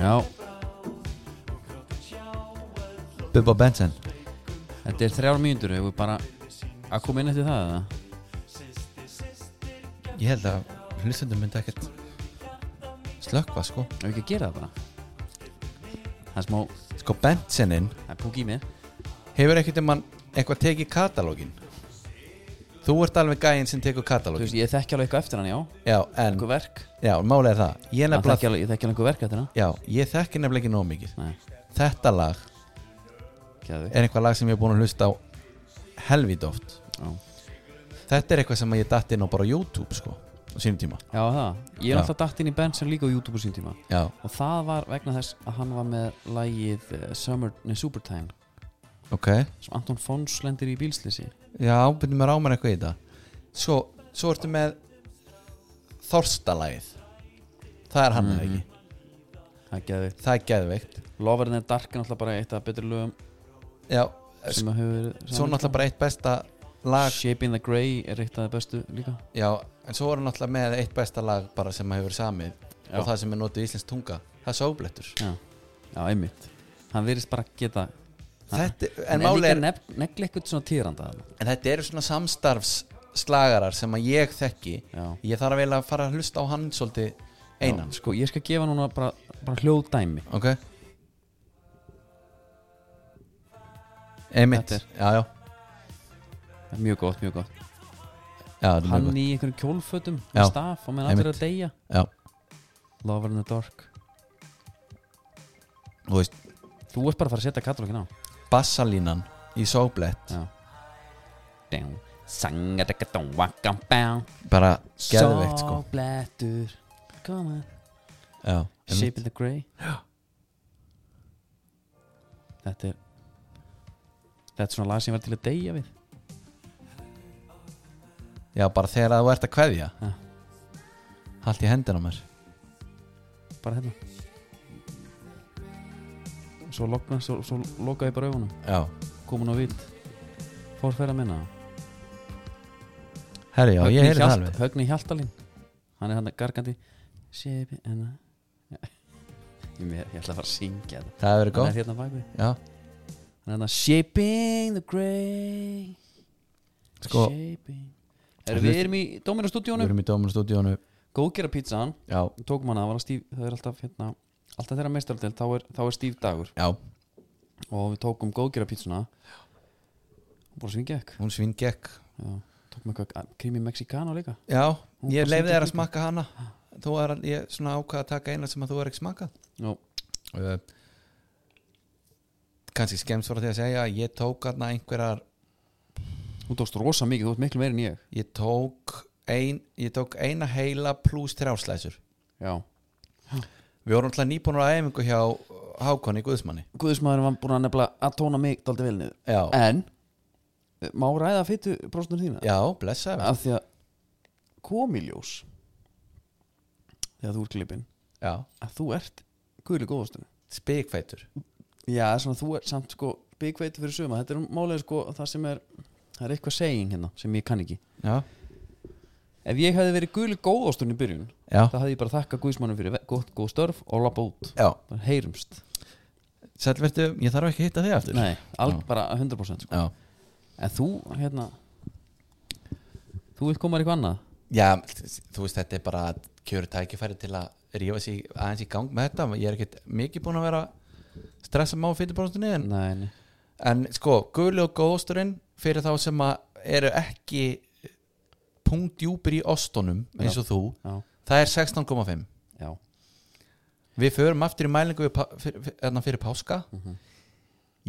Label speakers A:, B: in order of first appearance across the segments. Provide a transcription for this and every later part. A: Já,
B: Bubba Benson
A: þetta er þrjár mínútur Hefur bara að koma inn eftir það eða?
B: Ég held að hlustundum myndi ekkert slökva sko
A: Ef við ekki að gera það bara Það er smá,
B: Sko Bensoninn
A: það er púk í mig
B: hefur ekkert um hann eitthvað tekið katalógin Þú ert alveg gæinn sem tekur
A: Þú
B: katalógin
A: veist, sko, ég þekki alveg eitthvað eftir hann, já
B: Já, en,
A: Einhver verk
B: já, málega það Ég
A: Ég
B: nefnilega
A: þekki alveg, ég þekki alveg einhver verk eftir hann
B: Já, ég þekki nefnilega ekki nóg mikið
A: Nei,
B: Þetta lag
A: geðu
B: er eitthvað lag sem ég er búin að hlusta á helvít oft
A: Já,
B: Þetta er eitthvað sem ég datt inn á bara YouTube sko á sínum tíma
A: já það Ég
B: Já.
A: er alltaf datt inn í Benson líka á YouTube á sín tíma
B: Já,
A: Og það var vegna þess að hann var með lagið eh, Summer, nei, Supertime
B: ok
A: sem Anton Fons lendir í bílslisi
B: Já, byrjum að ráma eitthvað í þetta Svo, svo ertu með Þorstalagið Það er hann mm
A: Mhm.
B: ekki
A: Það er geðu
B: Það er geðveikt
A: Loverinn er dark er náttúrulega bara eitt af betri lögum
B: Já,
A: sem að hefur verið
B: svo náttúrulega bara eitt besta lag
A: Shaping the Grey er eitt af það bestu líka
B: Já, en svo er hann náttúrulega með eitt besta lag bara sem hefur verið samið
A: Já,
B: og það sem er notið í íslensk tunga Það er sóblettur
A: já, já einmitt Hann virðist bara geta
B: Þetta,
A: En
B: en
A: er
B: máli
A: líka
B: er,
A: nefn- negli eitthvað svona týranda þarna.
B: en þetta eru svona samstarfsslagarar sem að ég þekki
A: Já
B: Ég þarf vel að fara að hlusta á hann svolítið einan
A: Já, Sko, ég skal gefa núna bara, bara hljóðdæmi
B: Ok Einmitt
A: Þetta er-
B: Já, já,
A: Það er Mjög gott, mjög gott
B: já þetta er mjög
A: Hann
B: gott.
A: í einhverjum kjólfötum
B: Já.
A: með staf og menn allir að deyja
B: Já,
A: Lover in the Dark
B: þú veist,
A: Þú ert bara að fara að setja katalógin á
B: bassalínan í sóblett
A: Já Down Sangadakadón Wakambán
B: Bara geðveikt sko
A: Sóblettur Koma
B: Já, einmitt.
A: Shape in the Grey Þetta er Þetta er svona lag sem ég var til að deyja við
B: já bara þegar að þú ert að kveðja
A: Já.
B: Hallt í hendina á mér
A: Bara hérna Svo loka, svo, svo loka ég bara augunum
B: Já,
A: Komin á vitt Fórferða minna
B: herri, já, ég heyrði það alveg
A: Högni Hjaltalín Hann er hann gargandi Shape in the Ég, mér, ég ætla að fara að syngja þetta
B: Það
A: Hann
B: hefur verið
A: er
B: góð
A: hérna bækvið
B: Já,
A: Hann er hérna Shaping the Grey
B: Sko-
A: Shaping Erum við erum í Dóminu
B: við
A: stúdíónu
B: erum í dóminu stúdíónu
A: Góðgera pítsan
B: Já,
A: Tókum hana, það var stíf Það er alltaf hérna Alltaf þeirra meistaraldel þá, er- þá er stíf dagur
B: já,
A: Og við tókum góðgera pítsuna Bara svingekk
B: hún svín gekk
A: Tókum eitthvað krimi mexikana líka
B: Já,
A: Hún
B: ég
A: bara svín
B: leiði þér
A: gekk.
B: að smakka hana Þú er, ég svona ákvað að taka eina sem að þú er ekki smakkað
A: Jó,
B: uh, kannski skemmt voru því að segja að ég tók aðna einhverjar
A: þú tókst rosa mikið Þú ert miklu meir en ég
B: ég tók, ein, ég tók eina heila pluss þrjáslæsur
A: Já
B: við vorum alltaf nýbúnur að æfingu hjá Hákonni Guðsmanni
A: Guðismæðurinn var búin að nefnilega að tóna mig Daldi vel niður
B: já,
A: En eh, Má ræða fytu bróstunum þína
B: já blessaði
A: Af því að komiljós Þegar þú ert klippin
B: já,
A: Að þú ert guðli góðastunum
B: spikfeitur
A: Já, svona þú er samt sko byggveiti fyrir suma, þetta er málega sko það sem er, það er eitthvað seging hérna sem ég kann ekki.
B: já,
A: Ef ég hefði verið guli góðastun í byrjun
B: já,
A: þá hefði ég bara þakka guðismannum fyrir ve- gott góð störf og lappa út,
B: já.
A: bara heyrumst
B: Sælvertu, ég þarf ekki að hitta þig aftur
A: Nei, alg
B: Já.
A: bara 100% sko.
B: já,
A: En þú, hérna þú vilt koma þér eitthvað annað
B: já, þú veist þetta er bara kjöru tækifæri til að rífa sig aðeins í gang með þetta ég er ekkert mikið búin að vera stressa má fyrir brónstunni en
A: Nei, nei,
B: En sko, guli og góðosturinn fyrir þá sem að eru ekki punktjúpir í ostunum eins og þú,
A: já,
B: það er 16,5
A: já
B: Við förum aftur í mælingu við, pá- fyrir, fyrir, hérna fyrir páska
A: Mhm.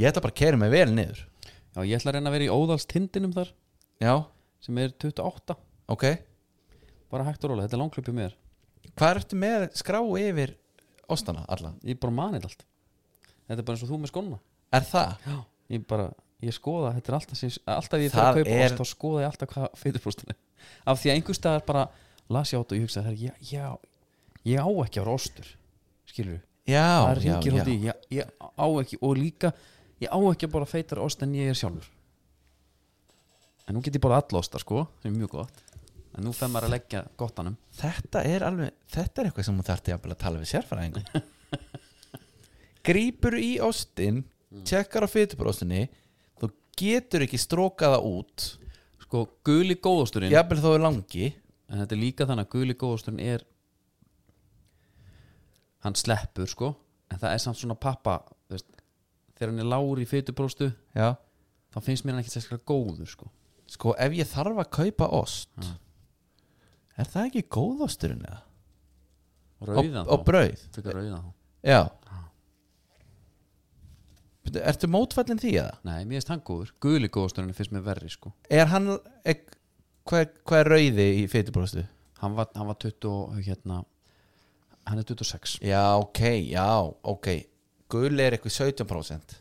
B: Ég ætla bara að kæra mig vel niður
A: Já, ég ætla að reyna að vera í óðalstindinum þar
B: Já,
A: sem er 28,
B: ok
A: bara hægt og rólega þetta er langklubbi mér,
B: Hvað ertu með skrá yfir ostana alla?
A: ég bara manið allt Þetta er bara eins og þú með skóna
B: Er það?
A: Já, ég bara, ég skoða þetta er alltaf, sem, alltaf ég
B: Það
A: fyrir að kaupa
B: er-
A: ost þá skoða ég alltaf hvað fyrirbrústunni af því að einhver staðar bara las ég á þetta og ég hugsa já, já, ég á ekki á rostur skilur við,
B: Já,
A: það
B: já,
A: ringir
B: já
A: hótti ég, ég á ekki, og líka ég á ekki að bara feitar ost en ég er sjálfur en nú get ég bara allosta sko, sem er mjög gott en nú fer maður að leggja gottanum
B: Þetta er alveg, þetta er eitthvað sem þú þarfti jafnvel að tala við sérfæræðingum grípur í ostin tjekkar á fytubrostinni þú getur ekki strókaða út
A: sko guli góðasturinn
B: jafnvel þó er langi
A: en þetta er líka þannig að guli góðasturinn er hann sleppur sko en það er samt svona pappa þú veist, þegar hann er lágur í fytupróstu
B: já.
A: þá finnst mér hann ekki sérstaklega góður sko
B: sko ef ég þarf að kaupa ost er það ekki góðosturinn eða?
A: og
B: Og-
A: rauðan
B: og brauð
A: þá fyrir rauðan þá
B: já Bíddu, ertu mótfallin því eða?
A: nei, mér finnst hann góður guli góðasturinn finnst mér verri sko
B: er hann er, hvað, er, hvað er rauði í fytubróstu?
A: hann var, hann var 20 og, hérna hann er 26
B: já ok, já ok gul er eitthvað 17%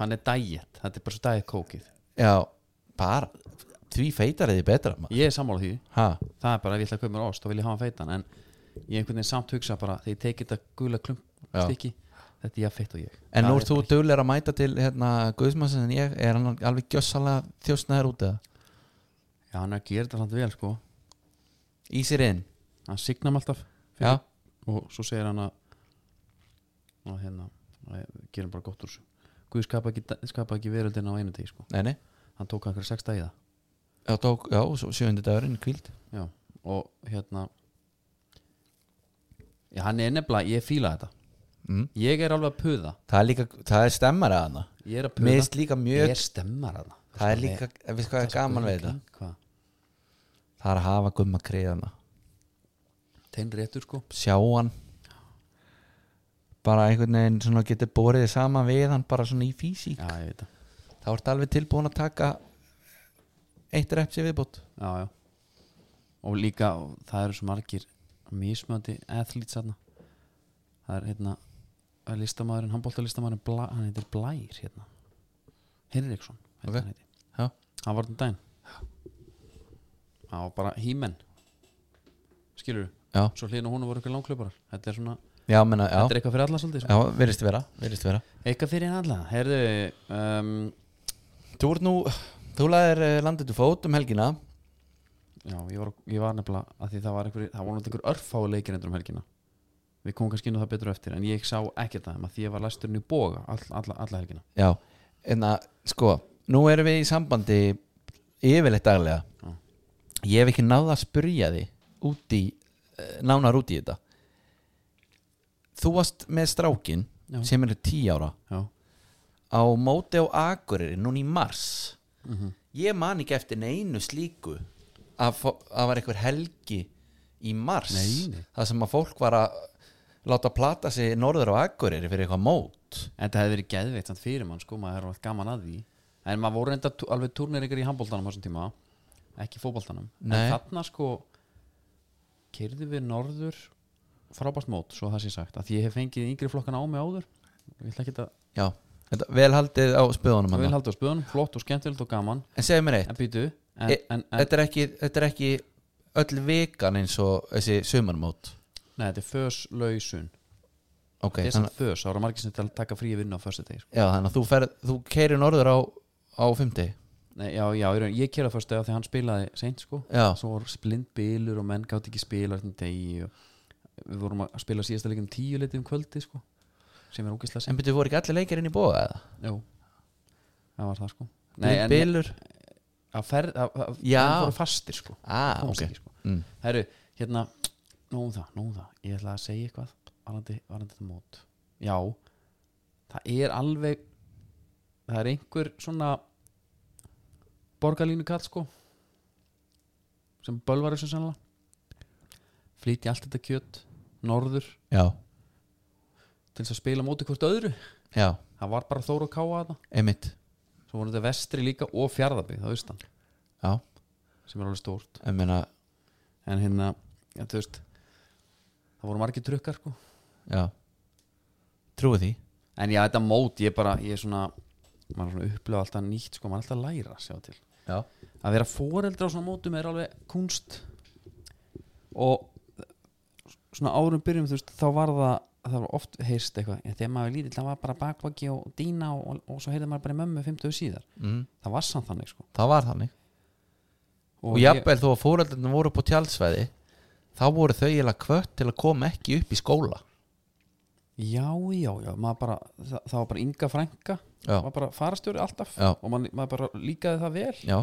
A: hann er diet, þetta er bara svo diet kókið
B: já, bara því feitar er því betra maður.
A: ég er sammála því,
B: ha,
A: það er bara ef ég ætla að köpa mér ost og vil ég hafa hann feitan en ég einhvern veginn samt hugsa bara þegar ég teki þetta gula klump
B: Já.
A: stykki þetta er ég feitt og ég
B: en nú
A: Það
B: ert þú duglegur að mæta til hérna guðsmannsins en ég er hann alveg gjössalega þjóstnaður út eða
A: Já, hann er að gera þetta samt vel sko
B: í sér inn
A: Hann signa mig alltaf
B: já,
A: fyrir- Og svo segir hann að að hérna, að gerum bara gott úr þessu Guð skapa ekki, skapa ekki veröldina á einu degi sko
B: nei nei
A: Hann tók einhverja sex dagi í það
B: já, tók, já og svo sjöundi dagurinn kvíld
A: Já, og hérna Já, hann er nefnilega, ég fíla þetta
B: mm.
A: Ég er alveg að puða
B: það er líka, það er stemmar að hana
A: Ég er að puða
B: mist líka
A: Ég
B: mjög
A: er Sko, stemmar hana
B: það er líka, við hvað er gaman við þetta
A: Hvað?
B: það er að hafa gumma kriðana
A: Tein réttur sko
B: sjá hann bara einhvern veginn svona getur borið þig saman við hann bara svona í físík
A: Já, ég veit það
B: þá ertu alveg tilbúin að taka eitt repsi viðbútt
A: já, já. og líka það eru svo margir mismöndi athletes þarna það er hérna að listamaðurinn, handbóltalistamæðurinn Bla, hann heitir Blær hérna Henriksson
B: Ok.
A: okay.
B: Já.
A: hann, heiti. hann var þann daginn hann var bara hímen skilur
B: já,
A: svo hliðin og hún voru ykkur langklöparar þetta er svona,
B: já, menna, já,
A: þetta er eitthvað fyrir alla svolítið svona.
B: já verðist vera, verðist vera
A: eitthvað fyrir alla, heyrðu um,
B: þú ert nú, þú laðir landið til fót um helgina
A: já, ég var, ég var nefnilega að því það var einhver, það voru náttúrulega einhver örfái leikir endur um helgina við komum kannski inn á það betur á eftir en ég sá ekkert það því ég var læsturinn í boga all, alla, alla helgina
B: já, en að sko, nú erum við í sambandi yfirleitt daglega
A: Já.
B: ég hef ekki náða að spurja því út í, eh, nánar út í þetta þú varst með strákin
A: Já.
B: sem er tíu ára
A: já,
B: á móti á Akureyri núna í mars
A: mm
B: ég man ekki eftir neinu slíku að fó- að var einhver helgi í mars
A: Nei, nei.
B: það sem að fólk var að láta plata sig norður á Akureyri fyrir eitthvað mót
A: en það hefði verið geðveitt samt fyrir mann sko, maður er alveg gaman að því en maður voru reynda alveg turnir ykkur í handbóltanum á þessum tíma, ekki fótbóltanum
B: Nei.
A: en þarna sko keirðu við norður frábært mót, svo það sé sagt að því ég hef fengið yngri flokkana á mig áður ég ætla ekki að
B: já, þetta, vel haldið á spöðunum
A: vel
B: hald...
A: halda á spöðunum, flott og skemmtilegt og gaman
B: en segðu mér eitt,
A: en býtu en,
B: E-
A: en, en,
B: þetta er ekki, þetta er ekki öll vikan eins og þessi sumarmót
A: Nei, þetta er föslausun
B: ok,
A: Þetta er
B: þannig,
A: samt fös, þá eru margir sem til að taka frí vinnu á föstu degi sko.
B: já, þannig að þú, ferð, þú keirir norður á, á fymti
A: Nei, já, já, í raun, ég kera föstu degi því hann spilaði seint sko.
B: já,
A: Svo var splind bilur og menn gátt ekki spila þessum degi og Við vorum að spila síðasta leikum tíu leiti um kvöldi sko. sem er ógislega seint
B: en byrju voru ekki allir leikir inn í bóða eða?
A: Jú, það var það sko Nei,
B: Nei,
A: en
B: bilur,
A: að ferð að, að,
B: Já.
A: menn voru fastir sko
B: ah,
A: Komst
B: ok
A: ekki, sko.
B: mm.
A: Herru, hérna, nóðum það, nóðum það Ég ætla að segja eitthvað varandi, varandi þetta mót Já, það er alveg Það er einhver svona Borgarlínu kall sko Sem bölvar þessu sannlega Flýti allt þetta kjöt Norður
B: já,
A: til þess að spila móti hvort öðru
B: já,
A: Það var bara þóra að káa þetta
B: einmitt
A: Svo voru þetta vestri líka og fjárðabíð Það austan
B: Já,
A: sem er alveg stórt
B: ég meina
A: En hérna, ja, þú veist Það voru margir trukkar sko
B: já. Trúi því
A: En já, þetta mót, ég bara, ég er svona maður er svona upplifa alltaf nýtt, sko, maður er alltaf að læra sjá til.
B: Já,
A: Að vera foreldra á svona mótum er alveg kunst og svona árum byrjum, þú veist, þá var það það var oft heyrst eitthvað, en þegar maður er lítill það var bara bakvaki og dýna og, og, og svo heyrði maður bara í mömmu 50 síðar
B: mm.
A: það var samt þannig, sko
B: það var þannig Og, og
A: ég,
B: jafnvel þó að fóreldarnir voru upp á tjálsvæði þá voru þau eiginlega kvött til að koma ekki upp í skóla
A: já, já, já, maður bara það, það var bara Inga Frænka
B: Já.
A: maður bara farastjóri alltaf
B: Já.
A: og maður, maður bara líkaði það vel
B: já,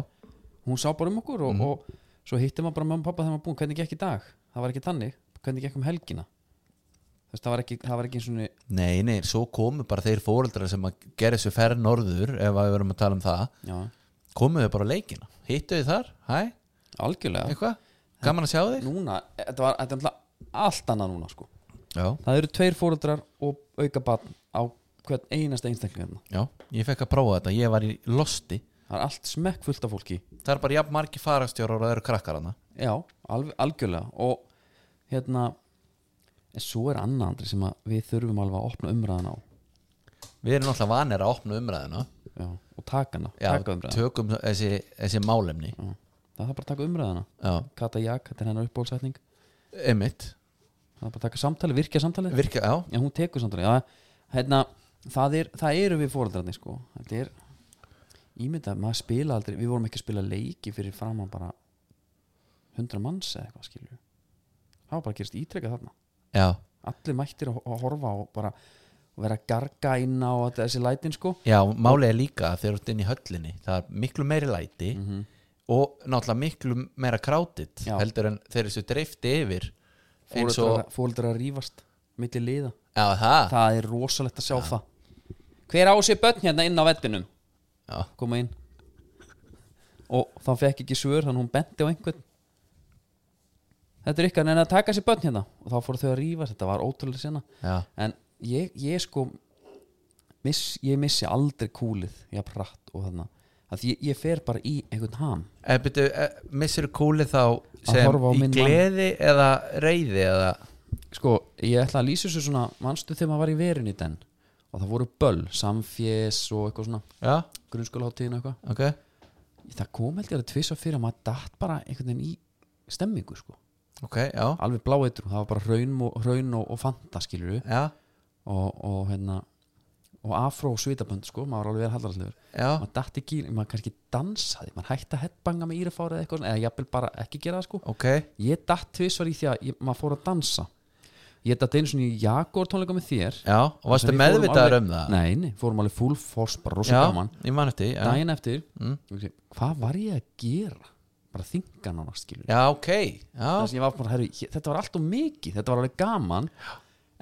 A: hún sá bara um okkur og,
B: Mhm.
A: og svo hitti maður bara mamma og pappa þegar maður búin hvernig gekk í dag, það var ekki þannig hvernig gekk um helgina Þú veist, það var ekki, það var ekki svona
B: nei, nei, svo komu bara þeir fóreldrar sem að gera þessu ferð norður ef að við verum að tala um það
A: já,
B: komuðu bara á leikina, hittu þið þar hæ,
A: algjörlega
B: eitthvað, gaman að sjá þig
A: núna, þetta var þetta er náttúrulega allt annað núna sko
B: já,
A: það eru tveir fóreldrar og auka barn á hvern einasta einstaklingarna
B: já, ég fekk að prófa þetta ég var í losti,
A: það er allt smekk fullt af fólki
B: það er bara jafn margi farastjórar og það eru krakkar hana
A: já, alveg, algjörlega og hérna en svo er annað andri sem að við þurfum alveg að opna umræðan á
B: við erum alltaf vanir að opna umræðina
A: já, og taka hana,
B: já,
A: taka umræðan
B: tökum þessi, þessi málefni
A: Já. það er bara að taka umræðana
B: já,
A: Kata Jak, þetta er hennar uppbólsætning
B: einmitt
A: það er bara að taka samtali, virkja samtali
B: virka, já,
A: já, hún tekur samtali já, hérna, það, er, það eru við fóreldrarnir sko. þetta er ímyndað, maður spila aldrei við vorum ekki að spila leiki fyrir framan bara 100 manns eða eitthvað skilju það var bara að gerast ítrekka þarna
B: já,
A: allir mættir að, að horfa og bara og vera að garga inn á þetta- þessi lætin sko
B: já málið er líka að þeir eru inn í höllinni það er miklu meiri læti og náttúrulega miklu meira krátitt
A: Mm. Já.
B: heldur en þeir eru svo dreifti yfir eins og, Ah.
A: fóreldrar fóreldrar að rífast milli liða,
B: já, það
A: það er rosalegt að sjá það hver á sér börn hérna inn á vettinum
B: já,
A: koma inn og þá fekk ekki svör þannig hún benti á einhvern þetta er ykkar en að taka sér börn hérna og þá fóru þau að rífa, þetta var ótrúlega sena
B: já,
A: en ég, ég sko miss, ég missi aldrei kúlið ég pratt og þarna að ég, ég fer bara í einhvern ham
B: eða Eh, byrju, missir kúli þá sem
A: horfa á
B: í
A: minn mann.
B: gleði eða reyði eða,
A: sko, ég ætla að lýsa þessu svona manstu þegar maður var í verunni den og það voru böll, samfjés og eitthvað svona
B: já,
A: grunnskólaháttíðin og eitthvað
B: ok
A: það kom held ég að tvisa fyrir að maður datt bara einhvern veginn í stemmingu sko
B: ok, já,
A: alveg blá eitrú, það var bara hraun og, hraun og, og fanta skilur við
B: já,
A: og, og hérna og afró og svitabönd sko, maður var alveg verið hallarallegur
B: já
A: maður datt ekki, í- maður kannski dansaði maður hætti að headbanga með írafári eða eitthvað svona, eða jafnvel bara ekki gera það sko
B: ok,
A: ég datt tvisvar í því að ég, maður fór að dansa ég datt einu svona í Jakor tónleika með þér
B: já, og varstu
A: Við fórum
B: meðvitaður
A: alveg-
B: um það
A: nei, nei, fórum alveg full force, bara rosa
B: já,
A: gaman
B: ég man eftir, já,
A: daginn eftir,
B: Mm.
A: mm. hvað var ég að gera bara þinga nána skilur
B: já, ok já,
A: þess að ég var bara, herru, ég- þetta var allt og mikið þetta var alveg gaman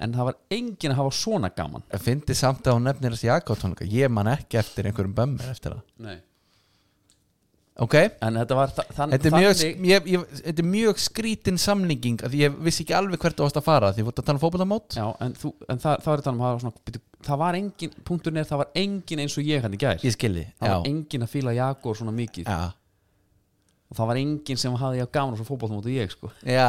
A: en það var engin að hafa svona gaman
B: Ég fyndi samt að hún nefnir þessi jakkotónleika Ég man ekki eftir einhverjum bömmir eftir það
A: Nei.
B: Ok,
A: en þetta var þa þann,
B: þetta er mjög,
A: Mm, þannig
B: ég, ég, þetta er mjög skrítin samlíking að Ég vissi ekki alveg hvert þú varst að fara Því þú voru að tala um fótboltamót
A: já, en, þú, en það, það, var þannig, það, var svona, byrju, það var engin, punkturinn er það var engin eins og ég hann í gær
B: Ég skilði,
A: það var
B: já,
A: engin að fíla Jakob svona mikið
B: já
A: og það var engin sem hafði ég gaman á svo fótboltum út og ég sko.
B: Já,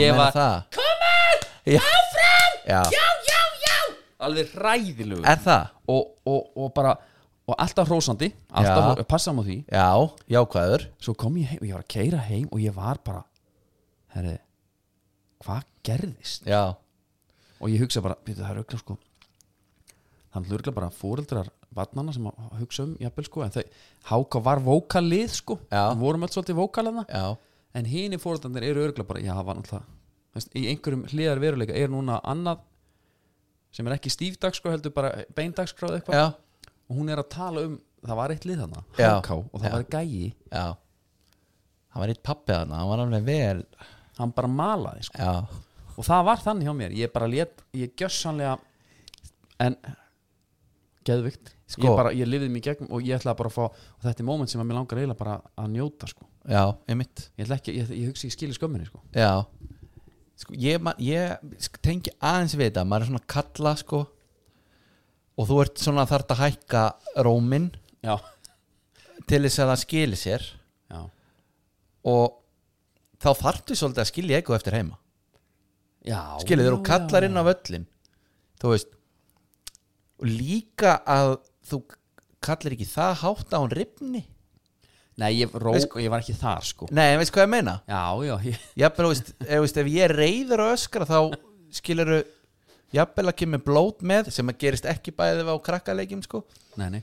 A: Ég
B: meina
A: var-
B: það Komin, áfram Já,
A: alveg ræðilegu
B: er það?
A: og, og, og bara og alltaf hrósandi, alltaf
B: Já.
A: passa á því
B: Já, jákvæður
A: svo kom ég heim og ég var að keira heim og ég var bara herri, hvað gerðist
B: Já,
A: og ég hugsa bara, veitu það er auðvitað sko þannig auðvitað bara fóreldrar vatnana sem að hugsa um jafnvel sko en þau, háka var vókalið sko
B: Já.
A: Við vorum alls svolítið vókalaðna
B: já,
A: en hini fóreldrarnir eru auðvitað bara, já það var náttúrulega veist, í einhverjum hliðar veruleika er núna annað sem er ekki stífdagskrá heldur bara beindagskráð eitthvað
B: já,
A: og hún er að tala um, það var eitt lið þarna
B: Já.
A: háká og það
B: Já.
A: var gæi,
B: já Hann var eitt pappi þarna, hann var alveg vel
A: hann bara malaði sko.
B: Já,
A: og það var þannig hjá mér, ég bara lét ég gjössanlega en geðvikt
B: Sko.
A: ég, bara, ég lifði mig í gegnum og ég ætlaði bara að fá og þetta er moment sem að mér langar eiginlega bara að njóta sko.
B: já, einmitt
A: ég, ætla ekki, ég, ég hugsi ég skilja skömminni sko.
B: Já sko, ég, man- ég sk- tengi aðeins við þetta maður er svona kalla sko og þú ert svona þarft að hækka rómin
A: já.
B: til þess að það skili sér
A: já,
B: og þá þarftu svolítið að skilja eitthvað eftir heima
A: já
B: skilja þegar þú
A: já,
B: kallar
A: já.
B: inn á völlin þú veist og líka að þú kallar ekki það hátt að hún ripni
A: nei, ég, ró,
B: Veist-
A: ég var ekki þar sko.
B: nei, veist hvað ég meina
A: já, já, ég,
B: Jafnvel, þú veist, ef, þú veist, ef ég er reyður og öskra þá skilur jafnvel að kemur blót með sem að gerist ekki bæðið á krakkaleikjum sko.
A: nei, nei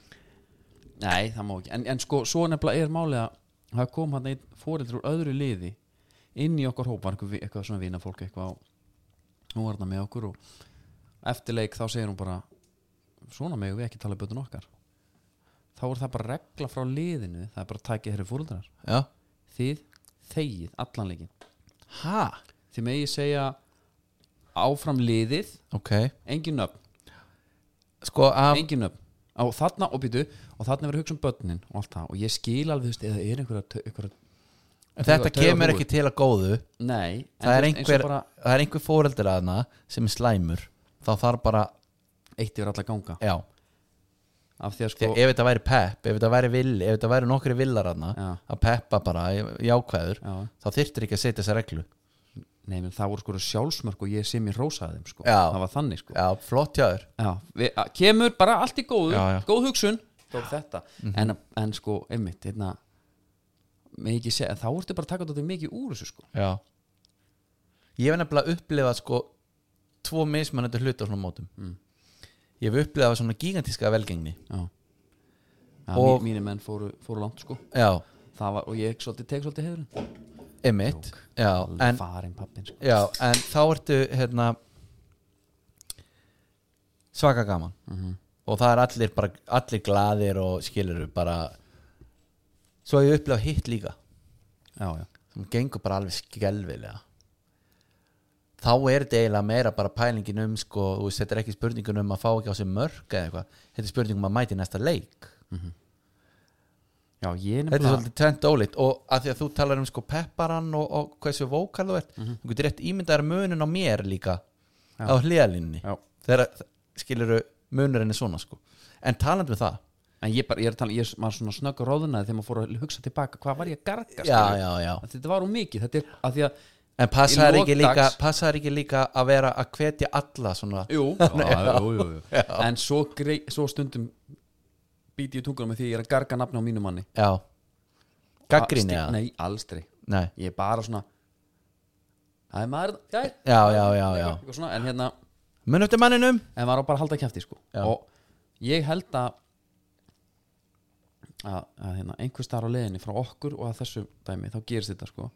A: nei, það má ekki, en, en sko, svo nefnilega er málið að það kom hann einn fóreldri úr öðru liði inn í okkar hóp var eitthvað, eitthvað svona vinafólk eitthvað og hún var þarna með okkur og eftir leik þá segir hún bara svona megum við ekki tala um bötun okkar þá er það bara regla frá liðinu það er bara að tækja þeirri fóruldrar
B: já
A: þið þegið allan leikin
B: ha,
A: þið megið segja áfram liðið
B: ok
A: engin nöfn,
B: sko að,
A: engin nöfn og þarna, og býtu, og þarna verið að hugsa um börnin og allt það, og ég skil alveg, þú veist, eða er einhverja, tau- einhverja
B: þetta
A: tauga- tauga-
B: kemur
A: hrúgur.
B: ekki til að góðu
A: nei, en
B: það
A: þú
B: er
A: veist, eins og
B: einhver,
A: bara
B: það er einhver fóreldur aðna sem er slæmur þá þarf bara,
A: eitt yfir alla ganga
B: já
A: af því að sko,
B: Þegar, ef þetta væri pepp, ef þetta væri vill ef þetta væri nokkri villar aðna
A: Já.
B: að peppa bara, jákvæður
A: já,
B: þá þyrftir ekki að setja þessa reglu
A: nei, menn það voru sko sjálfsmörk og ég sé mér rósaði þeim sko,
B: Já.
A: það var þannig sko
B: já, flott hjá þér
A: já, við, að, kemur bara allt í góðu
B: Já, já.
A: góð hugsun tók þetta en, en sko, einmitt hérna, megi ekki segja, þá ertu bara að taka þetta mikið úr þessu sko
B: já. ég hef nefnilega upplifað sko tvo mismunandi hluti á svona mótum mm. ég hef upplifað svona gigantíska velgengni
A: já. Já,
B: Og-
A: og mínir menn fóru, fóru langt sko
B: já,
A: Það var, og ég svolítið, tek svolítið hefurinn
B: emitt já, en,
A: alveg farin pappin sko.
B: já, en þá ertu hérna svaka gaman og það er allir bara, allir glaðir og skilur bara svo hef ég upplifað hitt líka
A: já, já.
B: sem gengur bara alveg skelvilega þá er þetta eiginlega meira bara pælingin um sko, þú veist, þetta er ekki spurningun um að fá ekki á sig mörg eða eitthvað, þetta er spurningum um að mæti næsta leik
A: já, ég
B: þetta er
A: nefnilega
B: svolítið tvent ólíkt og að því að þú talar um sko pepparann og, og hversu vókal þú ert,
A: Mhm.
B: þú getur rétt ímyndaðar munin á mér líka á hliðalínni
A: Já.
B: þegar skilur munurinn er svona sko en talandi við það,
A: en ég, bara, ég er að tala, ég var svona snögg og róðunaði þegar maður fór að hugsa tilbaka hvað var ég að garga
B: já
A: skilur?
B: já já
A: Að þetta var um mikið, þetta er að því að
B: en passaðar
A: Í lok
B: ekki, líka,
A: dags-
B: passaðar ekki líka að vera að hvetja alla svona
A: jú, já, jú, jú, jú. en svo, grei, svo stundum býti ég tungunum með því að ég er að garga nafni á mínu manni
B: já, Ah, gaggrinni
A: Að sti-
B: eða?
A: nei, aldrei,
B: Nei,
A: ég er bara svona það er maður já,
B: já, já, já, já
A: eitthvað svona, en hérna
B: Mun eftir manninum
A: en maður á bara að halda kæfti sko.
B: Já.
A: og ég held að að, að hérna, einhver starf á leiðinni frá okkur og að þessu dæmi þá gerist þetta sko,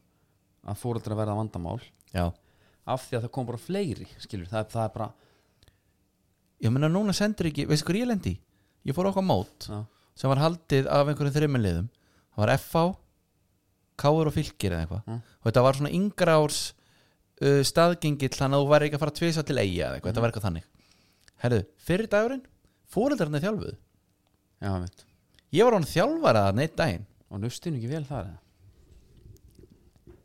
A: að fóreldra verða vandamál
B: Já
A: af því að það kom bara fleiri skilur, það, það er bara
B: Ég meina núna sendur ekki, veistu hvað ég lendi í? Ég fór okkar mót
A: já,
B: sem var haldið af einhverjum þrimminliðum Það var FH Káur og Fylkir eða eitthvað
A: Mm.
B: Og þetta var svona yngra árs uh, staðgengill Þannig að þú væri ekki að fara tvisa til eiga eða eitthvað Þetta var eitthvað þannig Herðu, fyrir dagurinn, fóreldarnir þjálfuð
A: já, veit
B: Ég var hann þjálfarað að neitt daginn
A: og nustinu ekki vel þar eða?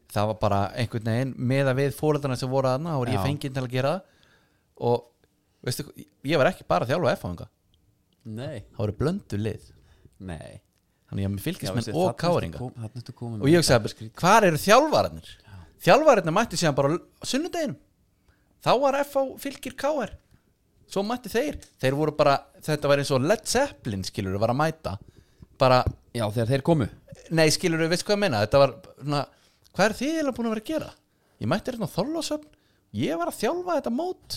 B: það var bara einhvern veginn með að við fóreldarna sem voru aðna og ég
A: Já.
B: fengið til að gera það og veistu, hvað, ég var ekki bara að þjálfa F-fanga,
A: nei,
B: það voru blöndu lið
A: nei
B: þannig ég var með
A: Já,
B: fylgismenn
A: veistu,
B: og
A: þarna ertu
B: káringa
A: kom- þarna ertu komin
B: og
A: með-
B: ég hugsaði, hvar eru þjálfararnir? þjálfararnir mættu síðan bara á sunnudeginum þá var F á fylgir KR svo mættu þeir, þeir voru bara þetta var eins og Led Zeppelin skilur var að mæta, bara
A: já, þegar þeir komu
B: Nei, skilur við, veist hvað ég meina Þetta var, svona, hvað er þið eiginlega búin að vera að gera? Ég mætti hérna á Þorlásöfn Ég var að þjálfa þetta mót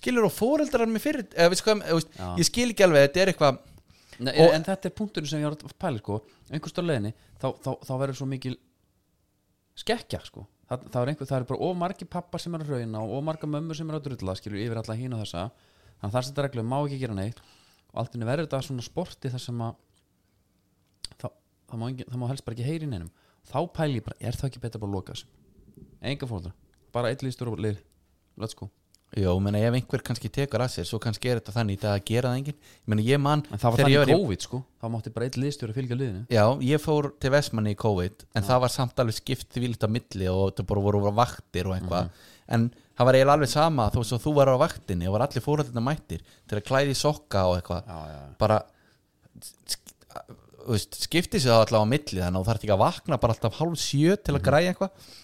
B: Skilur og fóreldrar mér fyrir eða, veist hvað, eða, veist,
A: Já.
B: Ég skil ekki alveg, þetta er eitthvað
A: Nei,
B: Og-
A: en þetta er punkturinn sem ég var að pæla sko. einhverst á leiðinni þá, þá, þá verður svo mikil skekkja sko. það, það, er einhver, það er bara of margi pappa sem er að hrauna og of marga mömmur sem er að drulla skilur yfir alla hín og þessa þannig að það setja reglum má ekki gera neitt og allt inni verður þetta svona sporti þar sem að það, það, má engin, það má helst bara ekki heyri í neinum þá pæli ég bara, er það ekki betra bara að loka þessu enga fólkdra, bara eitt lístur og leir let's go
B: Jó, menna ef einhver kannski tekur að sér Svo kannski er þetta þannig í dag að gera það enginn Ég meina ég man
A: en það var
B: þegar ég
A: þannig
B: var í-
A: COVID sko, þá mátti bara eitt liðstjóri fylgja liðinu
B: Já, ég fór til Vestmanni í COVID En það var samt alveg skipt því á milli Og þetta bara voru vaktir og eitthvað
A: Mhm.
B: En það var eiginlega alveg sama Þó svo þú var á vaktinni og var allir fóreldrar mættir Til að klæði sokka og eitthvað
A: já, já,
B: bara sk- þú veist, skipti sig það allavega á milli þannig að þú þarf ekki að vakna bara alltaf hálf sjö til að græja eitthvað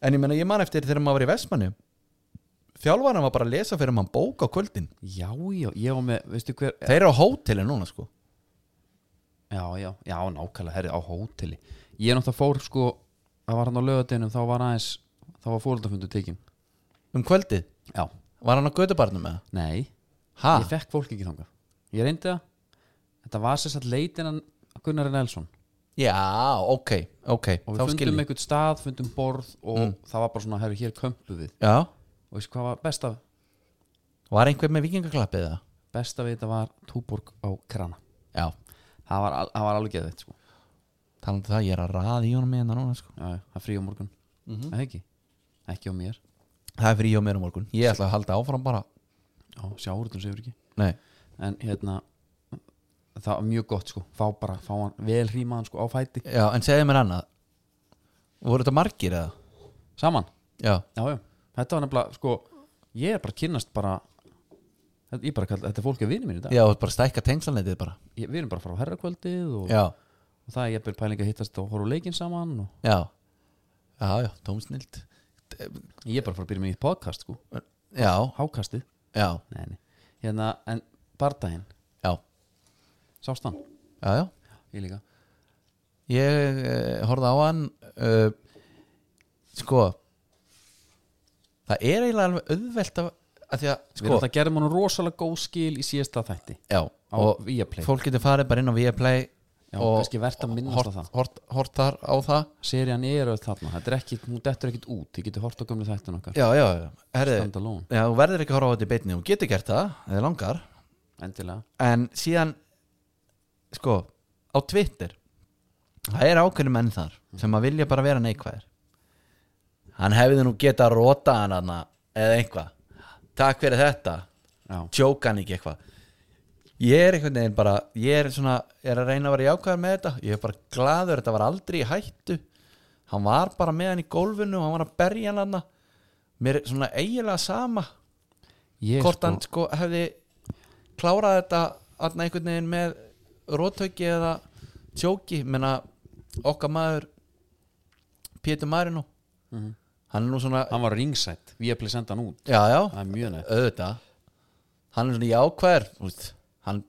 B: en ég meina ég man eftir þegar maður var í Vestmannu þjálfarna var bara að lesa fyrir mann bók á kvöldin
A: já, já, ég var með, veistu hver
B: þeir eru á hótelin núna sko
A: Já, já, já, nákvæmlega, herri, á hóteli Ég náttúrulega fór, sko, það var hann á lögadeinum þá var aðeins, þá var fóröldafundu tekin
B: um kvöldið,
A: Já,
B: var hann á gödubarnum eða?
A: nei,
B: ha,
A: ég fekk fólk ekki þangað Ég reyndi það, þetta var sér satt leitinan Gunnar Nelson
B: já, ok, ok
A: og við
B: þá
A: fundum
B: skil ég
A: einhvern stað, fundum borð og það var bara svona, herri, hér kömpu við
B: já,
A: og veistu hvað var best af
B: Var einhver með vikingaklappið það?
A: besta við þetta var Túborg á krana
B: Já,
A: það var, al- það var alveg geðveitt sko.
B: talandi um það, ég er að raða í honum með hérna núna sko.
A: Já, já, það er frí á morgun mm. ekki, ekki á mér
B: Það er frí á mér um morgun Ég ætla að halda áfram bara
A: Já, sjáurutun segur ekki
B: Nei,
A: en hérna það var mjög gott sko, fá bara fá hann, vel hrímaðan sko á fæti
B: já, en segðu mér annað Voru þetta margir eða?
A: saman,
B: Já,
A: já já, þetta var nefnilega sko, ég er bara að kynnast bara þetta- ég bara kall, þetta er fólk að vinni mín í dag
B: já, þú ert bara að stækka tengsalnetið bara
A: ég, við erum bara að fara á herrakvöldið og,
B: Já,
A: og það er ég er pæling að hittast og horfa á leikinn saman og
B: já Já, já, tómsnild
A: ég er bara að fara að byrja með í podcast sko,
B: Já,
A: hákastið
B: já,
A: nei, nei. hérna, en bardaginn,
B: já,
A: sást hann
B: já, já
A: ég líka,
B: Ég eh, horfði á hann uh, Sko Það er eiginlega alveg auðvelt að, að Því að,
A: við
B: sko
A: erum þetta gerðum hann rosalega góð skil í síðasta þætti
B: Já,
A: á
B: og
A: Viaplay,
B: fólk getur farið bara inn á Viaplay
A: já,
B: og-
A: kannski verðt að minnast á það
B: hort, hort, hort þar á það
A: serían er auðvitað þarna, þetta er ekki hún dettur ekkit út, þið getur hort á gömlu þættin okkar
B: Já, já, já, herri
A: stand alone,
B: Já, þú verður ekki að horfa á þetta í beinni, þú getur gert það eða langar,
A: endilega
B: en síðan sko, á Twitter það er ákveðnum menn þar sem að vilja bara vera neikvæðir hann hefði nú getað að róta hann hana, eða einhvað takk fyrir þetta,
A: já,
B: tjóka hann ekki eitthvað ég er einhvern veginn bara ég er svona, er að reyna að vera jákvæður með þetta ég er bara gladur, þetta var aldrei í hættu hann var bara með hann í gólfinu og hann var að berja hann hana mér er svona eiginlega sama
A: ég
B: hvort
A: sko,
B: hann sko hefði klárað þetta allan einhvern veginn með rótauki eða tjóki menna okkar maður Pétur Marino
A: Mhm.
B: hann er nú svona
A: hann var ringsætt, Viaplay senda hann út
B: já já,
A: það er mjög neitt,
B: auðvitað hann er svona jákvæður úst, hann,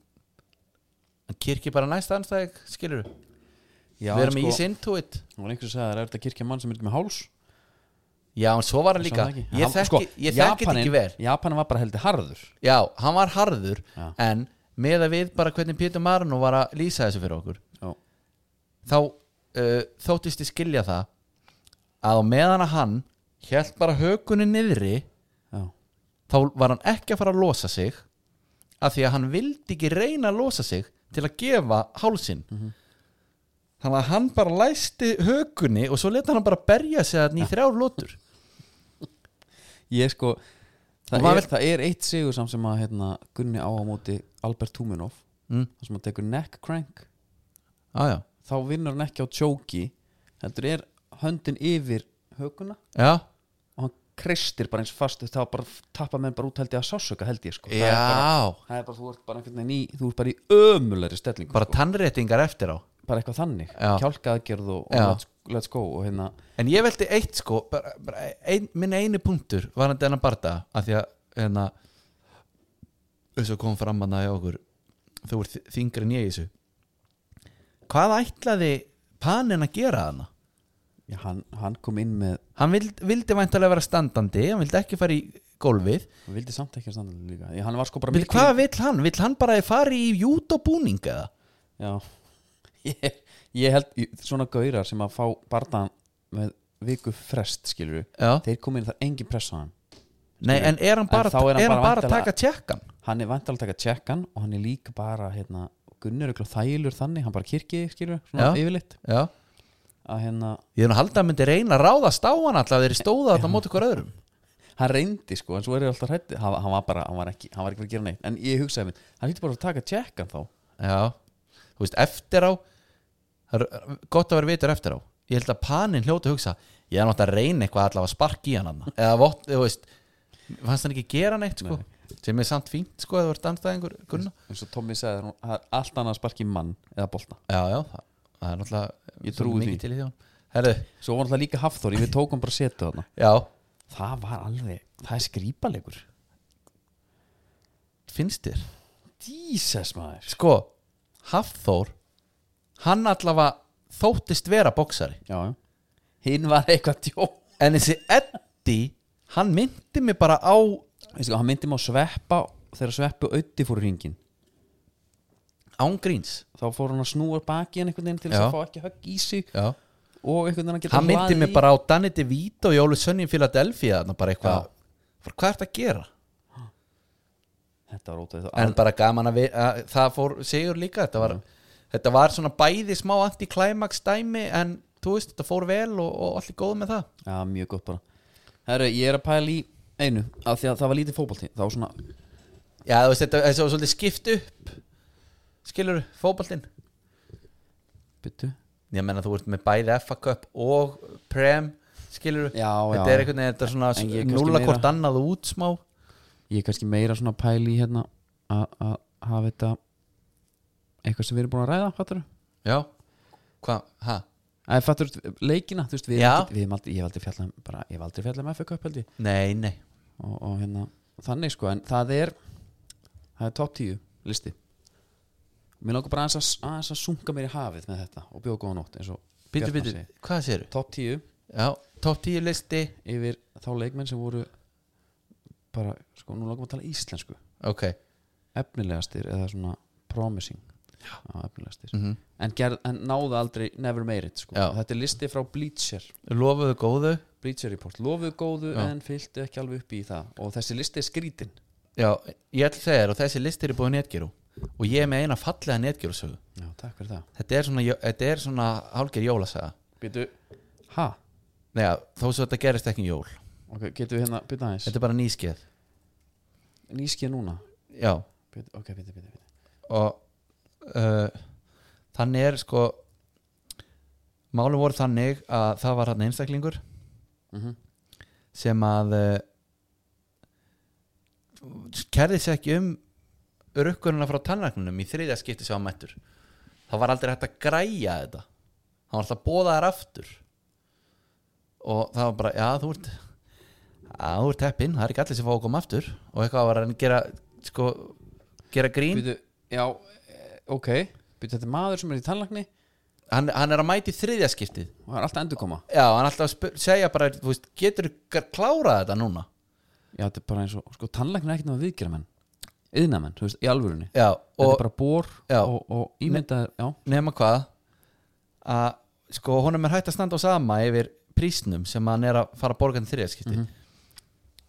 B: hann kirkir bara næsta anstæðing skilur
A: já,
B: við erum
A: sko,
B: í ease into it
A: það var einhvers að segja það er erfitt að kirkja mann sem er ekki með háls
B: já, en svo var hann
A: Ég
B: líka
A: sá það ekki.
B: ég
A: Hann-
B: þekki,
A: sko,
B: ég þekki þetta ekki vel
A: Japanin- Japanin var bara heldur harður
B: já, hann var harður
A: Já.
B: en með að við bara hvernig Pétur Marino var að lýsa þessu fyrir okkur
A: já,
B: þá uh, þóttist ég skilja það að á meðan að hann held bara hökunni niðri
A: já,
B: þá var hann ekki að fara að losa sig af því að hann vildi ekki reyna að losa sig til að gefa hálsin
A: Mhm.
B: þannig að hann bara læsti hökunni og svo leta hann bara berja sig þannig í þrjár lótur
A: ég sko
B: Og
A: það,
B: maður
A: er,
B: vill-
A: það er eitt sigur samt sem að hérna, Gunni á á móti Albert Tuminov
B: mm.
A: þar sem hann tekur neck crank
B: ah, já.
A: þá vinnur hann ekki á tjóki heldur er höndin yfir höguna
B: Já.
A: og hann kreistir bara eins fast þá bara tappa menn bara út held ég að sásöka held ég sko. það, er bara,
B: já
A: það er bara, þú ert bara einhvern veginn í þú ert bara í ömulegri stellingu
B: bara
A: sko.
B: tannréttingar eftir á
A: bara eitthvað þannig,
B: Já.
A: kjálkaðgerð og, og
B: Já.
A: let's, let's go og hérna
B: En ég veldi eitt sko bara, bara ein, minn eini punktur var hann denna barda að því að hérna, þess að kom fram hann að hjá okkur þú ert þy- þyngri en ég í þessu Hvað ætlaði panin að gera hana?
A: já, hann, hann kom inn með
B: Hann vild, vildi væntalega vera standandi hann vildi ekki fara í gólfið
A: hann vildi samt ekki að standa líka ég, hann var sko bara
B: Vil, Hvað vill hann? Vill hann bara fara í jútobúning eða?
A: já ég, ég held ég, svona gaurar sem að fá barðan með viku frest skilur
B: Já.
A: þeir kom inn þar engin pressa á hann
B: Nei, en er hann
A: En
B: bara,
A: þá er hann
B: er hann
A: bara
B: bara að
A: væntanlega-
B: taka tjekkan?
A: hann er vantalega að taka tjekkan og hann er líka bara hérna, Gunnur ykkur þælur þannig hann bara kirkið þig, skilur, svona
B: Já.
A: yfirleitt
B: Já
A: að hérna,
B: Ég er nú að halda að hann myndi reyna að ráðast á hann alltaf þeir stóða þetta móti hver öðrum
A: hann reyndi sko en svo er ég alltaf hrætti, hann, hann var bara hann var ekki, hann var ekki verið að gera neitt, en ég hugsaði minn hann hýtti bara að taka tjekkan þá
B: Já, þú veist, eftir á það er gott að vera vitur eftir á ég held að panin hljóti að hugsa ég er nátt að reyna eitthvað allavega að sparka í hann þarna. eða vott, þú veist fannst hann ekki gera neitt, sko sem er samt fínt, sko, eða þú ert anstæðingur kunna.
A: eins og Tommy sagði, hún- það er allt annað að sparki mann eða bolta,
B: Já, já, það, það er náttúrulega
A: Ég trúi
B: mikið
A: því.
B: til í því á honum. Herðu,
A: svo var alltaf líka Hafþór við tókum bara setu þarna
B: já,
A: það var alveg, það er skrýpalegur
B: finnst þér
A: Jesus maður
B: Sko, Hafþór hann allavega þóttist vera boksari
A: já, já. hinn var eitthvað tjó
B: en þessi Eddi hann myndi mig bara á
A: Veistu, hvað, hann myndi mig á sveppa þegar sveppu auði fór ringin
B: ángríns
A: þá fór hann að snúa baki hann einhvern veginn til
B: Já.
A: þess að fá ekki högg í sig
B: Já
A: og einhvern veginn að geta
B: hann myndi
A: hlaðið
B: mig
A: í.
B: bara á Danny DeVito í Ólu Sönni í Philadelphia þarna bara eitthvað, Bara, hvað ertu að gera
A: þetta var ótrúið
B: en bara gaman að, vi, að það fór sigur líka þetta var, þetta var svona bæði smá anti-climax dæmi en þú veist, þetta fór vel og, og allir góð með það
A: Já, mjög gott bara Herru, ég er að pæla í einu af því að það var lítið fótbolti þá svona,
B: já, þú veist, þetta þetta var svolítið skipt upp skilur, fótboltinn
A: byttu
B: ég menna þú ert með bæði FA Cup og Prem, skilur
A: Já, já,
B: þetta er einhvern veginn, þetta er
A: En ég er
B: svona
A: kannski
B: núla
A: meira-
B: hvort annað út smá
A: ég er kannski meira svona að pæla í hérna að að hafa þetta eitthvað sem við erum búin að ræða, fattur
B: já, hvað, hæ?
A: Æ, fattur, leikina, þú veist, við
B: Já.
A: erum ekki, við erum aldrei, ég hef aldrei fjallað um, bara, ég hef aldrei fjallað um FK upp held ég
B: nei, nei,
A: og, og hérna, þannig sko, en það er það er top 10 listi Mér langar bara aðeins að, aðeins að sunga mér í hafið með þetta og bjóða góða nótt eins og
B: býtu,
A: Bjartmar
B: býtu,
A: segir.
B: hvað séru?
A: Top 10
B: já, top 10 listi
A: yfir þá leikmenn sem voru bara, sko, nú langar maður að tala íslensku
B: ok,
A: efnilegastir eða svona promising á efnilegastir
B: mhm
A: en, gerð, en náðu aldrei never made it sko.
B: Já.
A: þetta er listi frá Bleacher
B: lofuðu góðu
A: Bleacher Report, lofuðu góðu
B: Já.
A: en fylgdu ekki alveg upp í það og þessi listi er skrítin
B: Já, ég ætla að segja þér og þessi listir er búið netgeru og ég er með eina fallega netgerusögu
A: já, takk fyrir það
B: þetta er svona, þetta er svona hálger jólasaga
A: Býtu, ha,
B: Nei, já, þó svo þetta gerist ekki um jól
A: ok, getum við hérna býta aðeins,
B: þetta er bara nýskeið
A: nýskja núna
B: Já,
A: býtu, ok, býtu, býtu, býtu
B: og uh, þannig er sko málum voru þannig að það var hann einstaklingur
A: mm
B: sem að uh, kerði sér ekki um rukkununa frá tannragnunum í þriðja skipti sem hann mættur það var aldrei hægt að græja þetta hann var alltaf bóðaðar aftur og það var bara, já þú ert já þú ert heppinn, það er ekki allir sem fá að koma aftur og eitthvað var hann að gera sko, gera grín
A: býtu, já, eh, ok býtu, þetta er maður sem er í tannlagni
B: hann, hann er að mæti þriðja skiptið
A: og það er alltaf endurkoma
B: já, hann er alltaf að spyr, segja bara þú veist, getur klárað þetta núna
A: já, þetta er bara eins og, sko, tannlagni er ekkert með viðgjara menn yðna menn, þú veist, í alvörunni
B: já,
A: þetta
B: og
A: er bara bor
B: Já.
A: og, og ímyndaður, já,
B: nema hvað að sko honum er hægt að standa á sama yfir prísnum sem hann er að fara að borga til þriðaskipti mm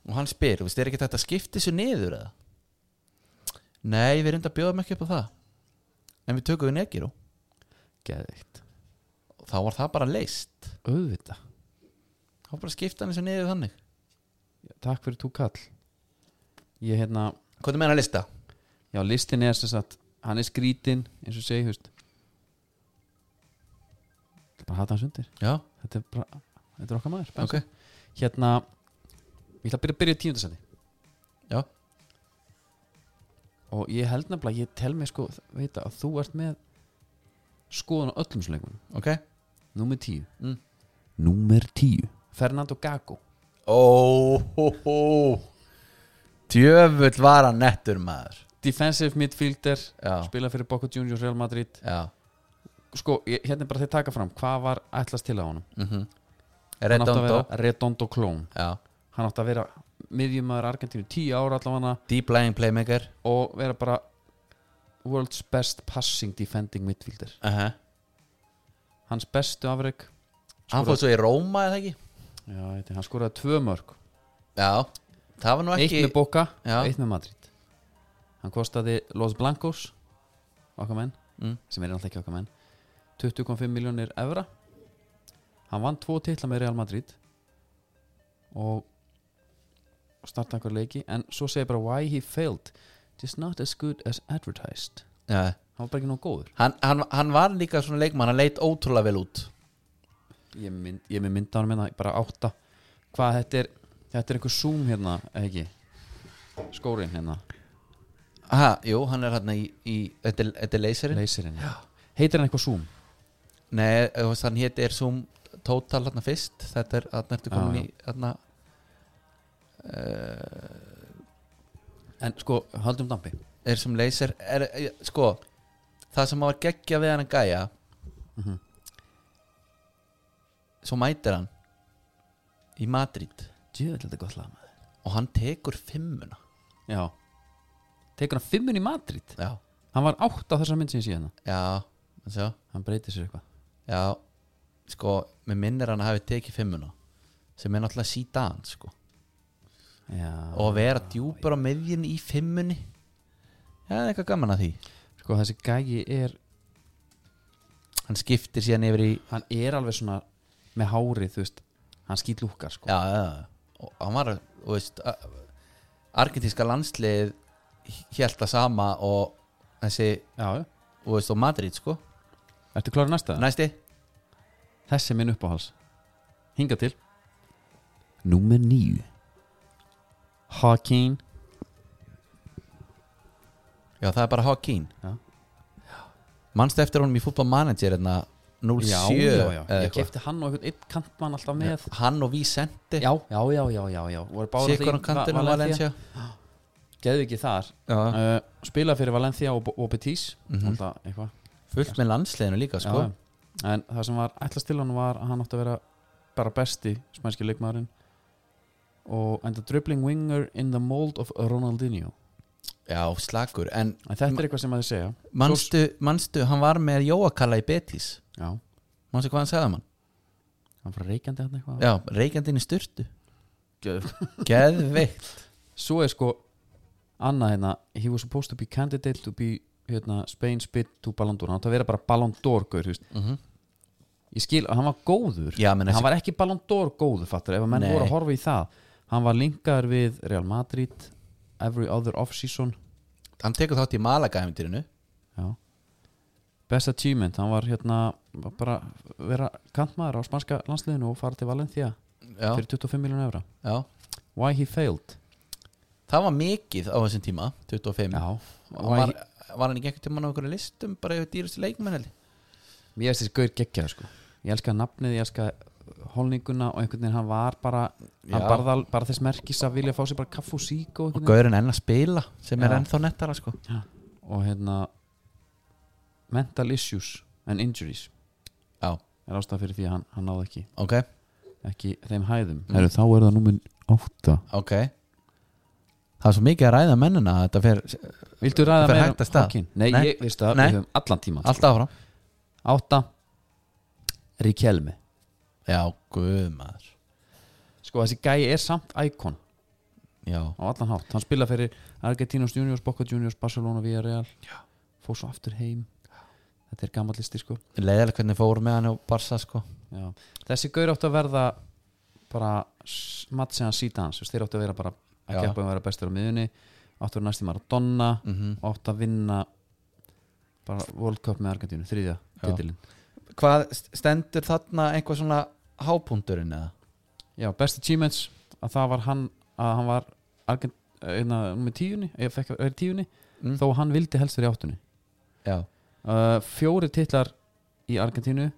B: og hann spyr, þú veist, er ekki þetta að skipti svo niður eða? Nei, við reynda að bjóðum ekki upp á það en við tökum við negir og
A: geðvikt
B: þá var það bara leist
A: auðvita,
B: þá var bara skipta hann þessu niður þannig
A: takk fyrir tú kall ég hérna,
B: Hvað er með hann að lista?
A: já listin er sem sagt hann er skrítin, eins og segi, þú veist Það er bara að hata hans undir
B: Já,
A: þetta er bara, þetta er okkar maður
B: ok
A: Benson. hérna, ég ætla að byrja að byrja tíundasæti
B: Já.
A: og ég held nefnilega, ég tel mig sko veita að þú ert með skoðan á öllum sleikum
B: Ok
A: Númer 10
B: Mm.
A: Númer 10 Fernando Gago
B: Ó, hó, hó Djöfull var hann nettur maður
A: Defensive midfielder
B: Já,
A: Spila fyrir Boca Juniors Real Madrid
B: já
A: Sko, ég- hérna er bara þeir taka fram Hvað var ætlast til á honum?
B: mm -hmm.
A: Hann átti að vera Redondo Klón
B: Já
A: Hann átti að vera miðjumæður Argentínu 10 ára allavega
B: Deep lying playmaker
A: Og vera bara World's best passing defending midfielder
B: uh -huh.
A: Hans bestu afreg
B: Hann fór svo í Róma eða ekki
A: Já, heiti, hann skoraði tvö mörg
B: Já, það var nú
A: Eitt
B: ekki
A: með Boca
B: Já.
A: Eitt með Madrid Hann kostaði Los Blancos Okkar menn
B: mm.
A: sem er náttúrulega ekki okkar menn 20,5 miljónir evra hann vann tvo titla með Real Madrid og starta einhver leiki en svo segir bara why he failed just not as good as advertised
B: Já.
A: hann var bara ekki nóg góður
B: hann, hann, hann var líka svona leikmann hann leit ótrúlega vel út
A: ég er mynd- ég er með mynda hann minna hérna bara átta hvað þetta er þetta er einhver zoom hérna eða ekki skórin hérna
B: Aha, Jú, hann er hann í, í Þetta er- þetta er leyserinn
A: leyserinn hérna. heitir hann eitthvað zoom
B: Nei, þú veist, hann héti er Zoom Total hann fyrst Þetta er hann ertu
A: Já,
B: komin
A: já.
B: í eh, hann
A: en sko höldum dampi
B: er sem leyser er, er, Sko, það sem var geggja við hann að gæja
A: Mhm.
B: Svo mætir hann Í Madrid
A: djöðlega þetta er gott lag maður
B: Og hann tekur fimmuna
A: já tekur hann fimmun í Madrid
B: Já,
A: Hann var átt á þessar mynd sem ég sé hérna
B: já, sjá
A: Hann breytir sér eitthvað
B: Já, sko, mér minnir hann að hafi tekið fimmuna sem er náttúrulega sídan sko.
A: Já,
B: og að vera djúpar á miðjun í fimmunni Já, það er eitthvað gaman að því
A: sko þessi gægi er
B: Hann skiptir síðan yfir í
A: hann er alveg svona með hárið þú veist hann skýt lúkar sko
B: Já, já, já Og hann var, þú veist a- Argentinska landslið Hjælt það sama og Þessi,
A: já.
B: þú veist, og Madrid, sko
A: ertu klára næsta?
B: Næsti
A: þessi er minn uppáhals hinga til Númer nýju Hakeem
B: Já, það er bara Hawking
A: Já.
B: Manstu eftir honum í fútbol manager hérna 07
A: já, já, já,
B: eða
A: ég
B: eitthvað?
A: kefti hann og einhvern einn kantmann alltaf með já,
B: Hann og Vicente
A: já, já, já, já, já. voru báðir alltaf í
B: Sikon og Kantinu
A: Va- Valencia.
B: Valencia
A: geðu ekki þar
B: já.
A: uh, spila fyrir Valencia og, og Betis
B: Mhm.
A: alltaf eitthvað
B: Fullt með landsliðinu líka sko
A: Já, já. en það sem var ætlast til hann var að hann átti að vera bara besti spænski leikmaðurinn og enda dribbling winger in the mold of Ronaldinho
B: Já, slagur En
A: en þetta er eitthvað sem að þið segja
B: manstu, manstu, hann var með Jóakalla í Betis
A: já,
B: Manstu hvað hann sagði um hann?
A: hann var reikandi hann eitthvað
B: Já, reikandinn í styrtu
A: Geð-
B: Geðveikt
A: svo er sko annað hérna, he was supposed to be candidate to be hérna, Spain's bid to Ballon d'Or hann átti að vera bara Ballon d'Or gaur, þú veist. ég skil að hann var góður
B: Já, menn
A: en Mhm. hann
B: þessi
A: var ekki Ballon d'Or góður fattur ef að menn
B: Nei.
A: voru að horfa í það hann var linkaður við Real Madrid every other off-season
B: Hann tekur þátt í Malaga-heimtirinu
A: Já. best achievement, hann var hérna bara vera kantmaður á spanska landsliðinu og fara til Valencia
B: Já,
A: fyrir 25 miljónu evra
B: já
A: why he failed
B: Það var mikið á þessum tíma 25 Og
A: why
B: var,
A: he,
B: var hann ekki ekkert um hann á einhverju listum bara yfir dýrasti leikmenn held ég?
A: ég veist þessi gaur geggjað sko ég elska nafnið, ég elska holninguna og einhvern veginn hann var bara hann
B: Já.
A: barðal, bara þess merkis að vilja fá sér bara kaff og sík og
B: og
A: einhvern veginn
B: gaurinn enn að spila sem er
A: Já.
B: ennþá nettara sko
A: og hérna mental issues and injuries
B: já,
A: er ástæða fyrir því að hann, hann náði ekki
B: ok,
A: ekki þeim hæðum
B: Mm. Heyrðu,
A: þá er það númin 8
B: ok það er svo mikið að ræða mennina að þetta fer
A: Viltu ræða
B: Það fer
A: meira um
B: hægt af stað.
A: Hawking? Nei,
B: Nei.
A: ég veist það,
B: Nei.
A: við höfum allan sko. tíma
B: alltaf áfram
A: 8 Ríkjelmi
B: já, guð maður
A: Sko þessi gæi er samt íkon
B: já,
A: á allan hátt, hann spila fyrir Argentinos Juniors, Boca Juniors, Barcelona, Villarreal fór svo aftur heim þetta er gammal listi sko
B: leiðilega hvernig fór með hann og Barsa sko
A: Já. þessi gaur átti að verða bara mattsiðan sídans þeir áttu að vera bara að
B: Já.
A: keppa um að vera bestur á miðunni áttu að vera næstum að donna
B: mm
A: áttu að vinna bara World Cup með Argentínu, þriðja
B: Já.
A: titilin
B: hvað st- stendur þarna einhver svona hápunturinn eða
A: Já, best achievements að það var hann að hann var Argent, einna, með tíunni, eða fekk að vera í tíunni
B: mm?
A: þó að hann vildi helst verið í áttunni
B: já,
A: uh, fjóri titlar í Argentínu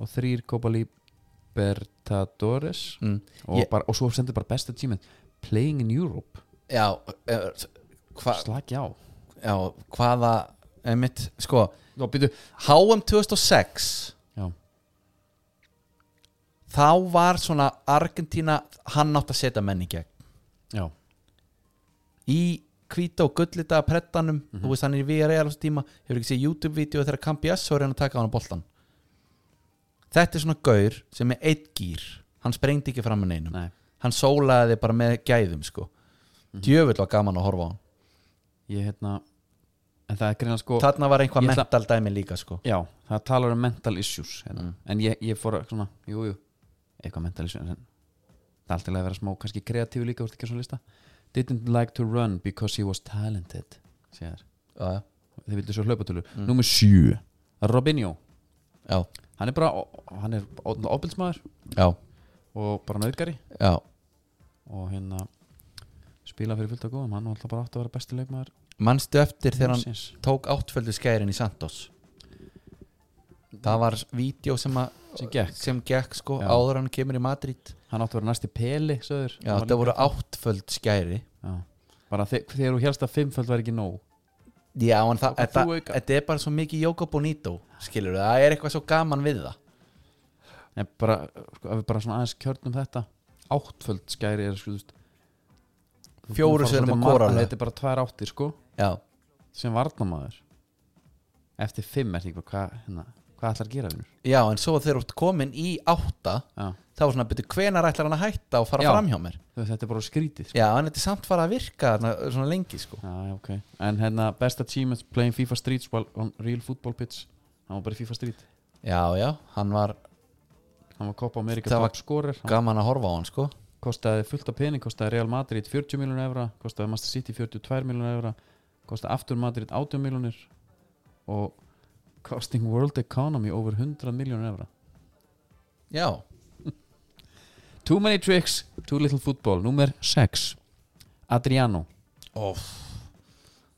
A: og þrýr Copa Libertadores
B: mm.
A: og,
B: Ég-
A: bara, og svo sendur bara best achievement Playing in Europe,
B: já eh, s- hva,
A: slagi á
B: já, hvaða einmitt, sko,
A: Nó, býtu,
B: HM 2006
A: Já.
B: þá var svona Argentína, hann átt að setja menn í gegn
A: já,
B: í hvíta og gullita prettanum, þú veist hann er í VRA alveg tíma, hefur ekki séð YouTube-vídeó þegar Kampi S var hann að taka á hann á boltan þetta er svona gaur sem er eitt gýr, hann sprengdi ekki fram að neinum
A: nei
B: hann sólaði þig bara með gæðum sko djöfull var gaman að horfa á hann
A: ég hérna en það er greina sko
B: þarna var einhvað
A: Ég ætla-
B: mental dæmi líka sko
A: já, það talar um mental issues hérna.
B: Mm.
A: en ég, ég fór að svona, jú, jú eitthvað mental issues en það er alltaf að vera smá, kannski kreatífu líka úrst ekki á svona lista didn't like to run because he was talented segir
B: já, já.
A: þeir vildu svo hlaupatölu mm. nummer 7, Robinho
B: já,
A: hann er bara, hann er ofbildsmaður
B: já,
A: og bara nöðgari
B: já,
A: og hérna spila fyrir fullt að góðum, hann var alltaf bara átt að vera besti leikmaður
B: manstu eftir þegar hann
A: heimsins.
B: tók áttföldu skærin í Santos það var vídeo sem, að-
A: Sem gekk.
B: sem gekk sko
A: Já.
B: áður en hann kemur í Madrid
A: hann átt að vera næsti peli söður
B: já, það voru áttföld skæri
A: Já. bara þe þegar þú helst að fimmföld væri ekki nóg
B: já, en það,
A: Tók hann
B: það,
A: þrjú auka.
B: þetta er bara svo mikið Jóko Bonito, skilur við, það er eitthvað svo gaman við það
A: en bara, sko, ef við bara svona aðeins kjörnum þetta áttföld skæri er sko þú veist, þú ert búin
B: Fjórum
A: að fara
B: sinnum
A: svolítið
B: á
A: mar-
B: kórallu.
A: þetta er bara tvær áttir sko
B: já,
A: sem varnamaður eftir fimm er því hvað hérna, hvað hvað ætlar að gera vinnur
B: já, en svo þegar þú ert komin í átta
A: já.
B: þá er svona, betur, hvenar ætlar hann að hætta og fara
A: Já.
B: fram hjá mér
A: Þú veist, þetta er bara skrítið sko.
B: já, en þetta er samt fara að virka þarna svona lengi, sko
A: já, já, ok en hérna best achievement playing FIFA Streets while on real football pitch hann var bara í FIFA Street
B: já, já, hann var
A: hann var Copa America
B: Það var
A: top scorer hann
B: gaman að horfa á hann, sko
A: kostaði fullt af pening kostaði Real Madrid 40 miljonar evra kostaði Master City 42 miljonar evra kostaði Aftur Madrid 18 miljonir og costing world economy over 100 miljonar evra
B: já,
A: Too many tricks, too little football Númer 6 Adriano
B: óf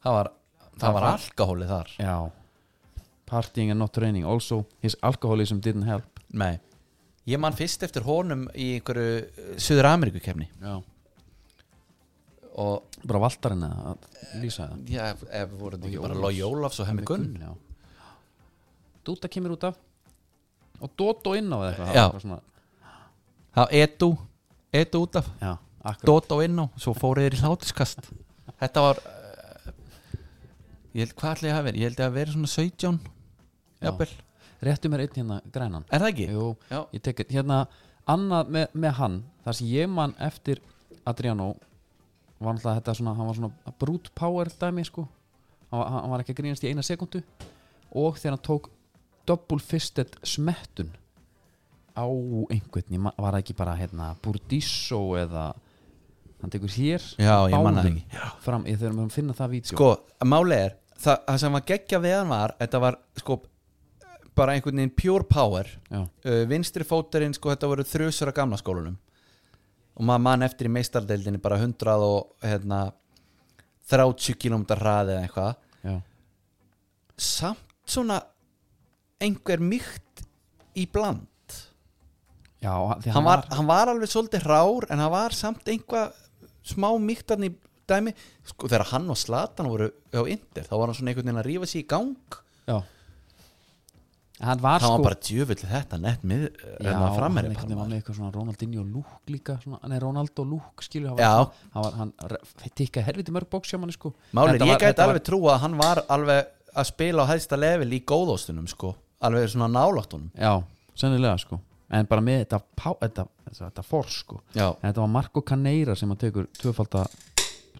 B: það var, það
A: Það
B: var
A: var-
B: alkohóli þar
A: Já Partying and not training Also his alcoholism didn't help
B: nei, ég man fyrst eftir honum í einhverju eh, Suður Ameríku kemni
A: Já
B: og
A: Bara valdarinn að lýsa það
B: Já, ef, ef voru
A: Og
B: þetta ekki
A: Ólafs.
B: bara Lói Ólafs og Hemmi Gunn
A: Já Dúta kemur út af Og Dótó inn á eða eitthvað Það
B: Já.
A: var bara svona,
B: Það Edu, Edu út af
A: Já Akkur
B: Dóta og inn á, svo fóruð þeir í hlátiskast Þetta var uh, Ég held, hvað ætli ég hafi verið? Ég held ég að verið svona 17
A: Já.
B: Jafnvel,
A: Réttu mér einn hérna grænan
B: er það ekki?
A: Jú
B: Já,
A: Ég tek eitt Hérna Annað með, með hann þar sem ég man eftir Adriano Var náttúrulega þetta svona Hann var svona brute power dæmi sko Hann var, hann var ekki að grínast í eina sekundu Og þegar hann tók Double fisted smettun Á einhvern Ég ma- var það ekki bara hérna Burdisso eða Hann tekur hér
B: Já, ég man það
A: báðum
B: ekki.
A: Fram Ég þurfum að finna það vídeo
B: sko, máli er það, það sem var geggja við hann var Þetta var, sko, bara einhvern veginn pure power
A: Já,
B: uh, Vinstri fótarinn, sko, þetta voru þrjusur af gamla skólanum Og maður mann eftir í meistardeldinni bara 100 og hérna 30 km hraði eða eitthvað
A: já
B: samt svona einhver mýkt í bland
A: Já, því
B: hann var, hann var alveg svolítið hrár en hann var samt einhvað smá mýktarni dæmi sko, þegar hann og Slatan voru á Inter þá var hann svona einhvern veginn að rífa sér í gang
A: Já Hann var
B: hann
A: sko
B: var bara djöfull þetta nett mið hérna
A: hann
B: framherri
A: einhvern veginn var
B: bara
A: með eitthvað svona Ronaldinho lúk líka svona, Nei, Ronaldo lúk skilur hann
B: Já.
A: var, svona- hann, var, hann re- tikkaði helviti mörg bóks hjá manni sko
B: Málið,
A: Þetta
B: ég
A: var-
B: gæti
A: þetta var-
B: alveg trúa að hann var alveg að spila á hæðsta level í góðóstunum sko, alveg svona nálátt honum
A: Já, sennilega sko En bara með þetta, pá, þetta, þetta, þetta fór sko
B: já,
A: En þetta var Marco Caneira sem hann tekur tvöfalda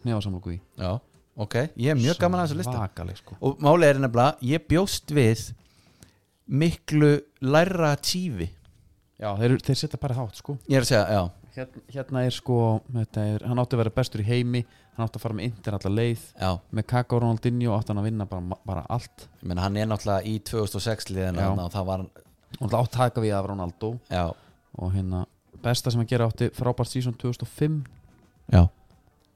A: hnefasamlóku í
B: já, ok ég er mjög gaman að þessu lista
A: Svakaleg sko
B: og málið er nefnilega ég bjóst við miklu læra tífi
A: Já, þeir, þeir setja bara hátt sko
B: ég er að segja, já,
A: hérna, hérna er sko, þetta er, hann átti að vera bestur í heimi Hann átti að fara með Inter alla leið
B: já
A: Með Kaka og Ronaldinho átti hann að vinna bara, bara allt
B: ég meina hann er náttúrulega í 2006 liðin
A: Já.
B: og það var,
A: Og hann átti að taka við af Ronaldo
B: já,
A: og hérna besta sem að gera átti frábært season 2005
B: já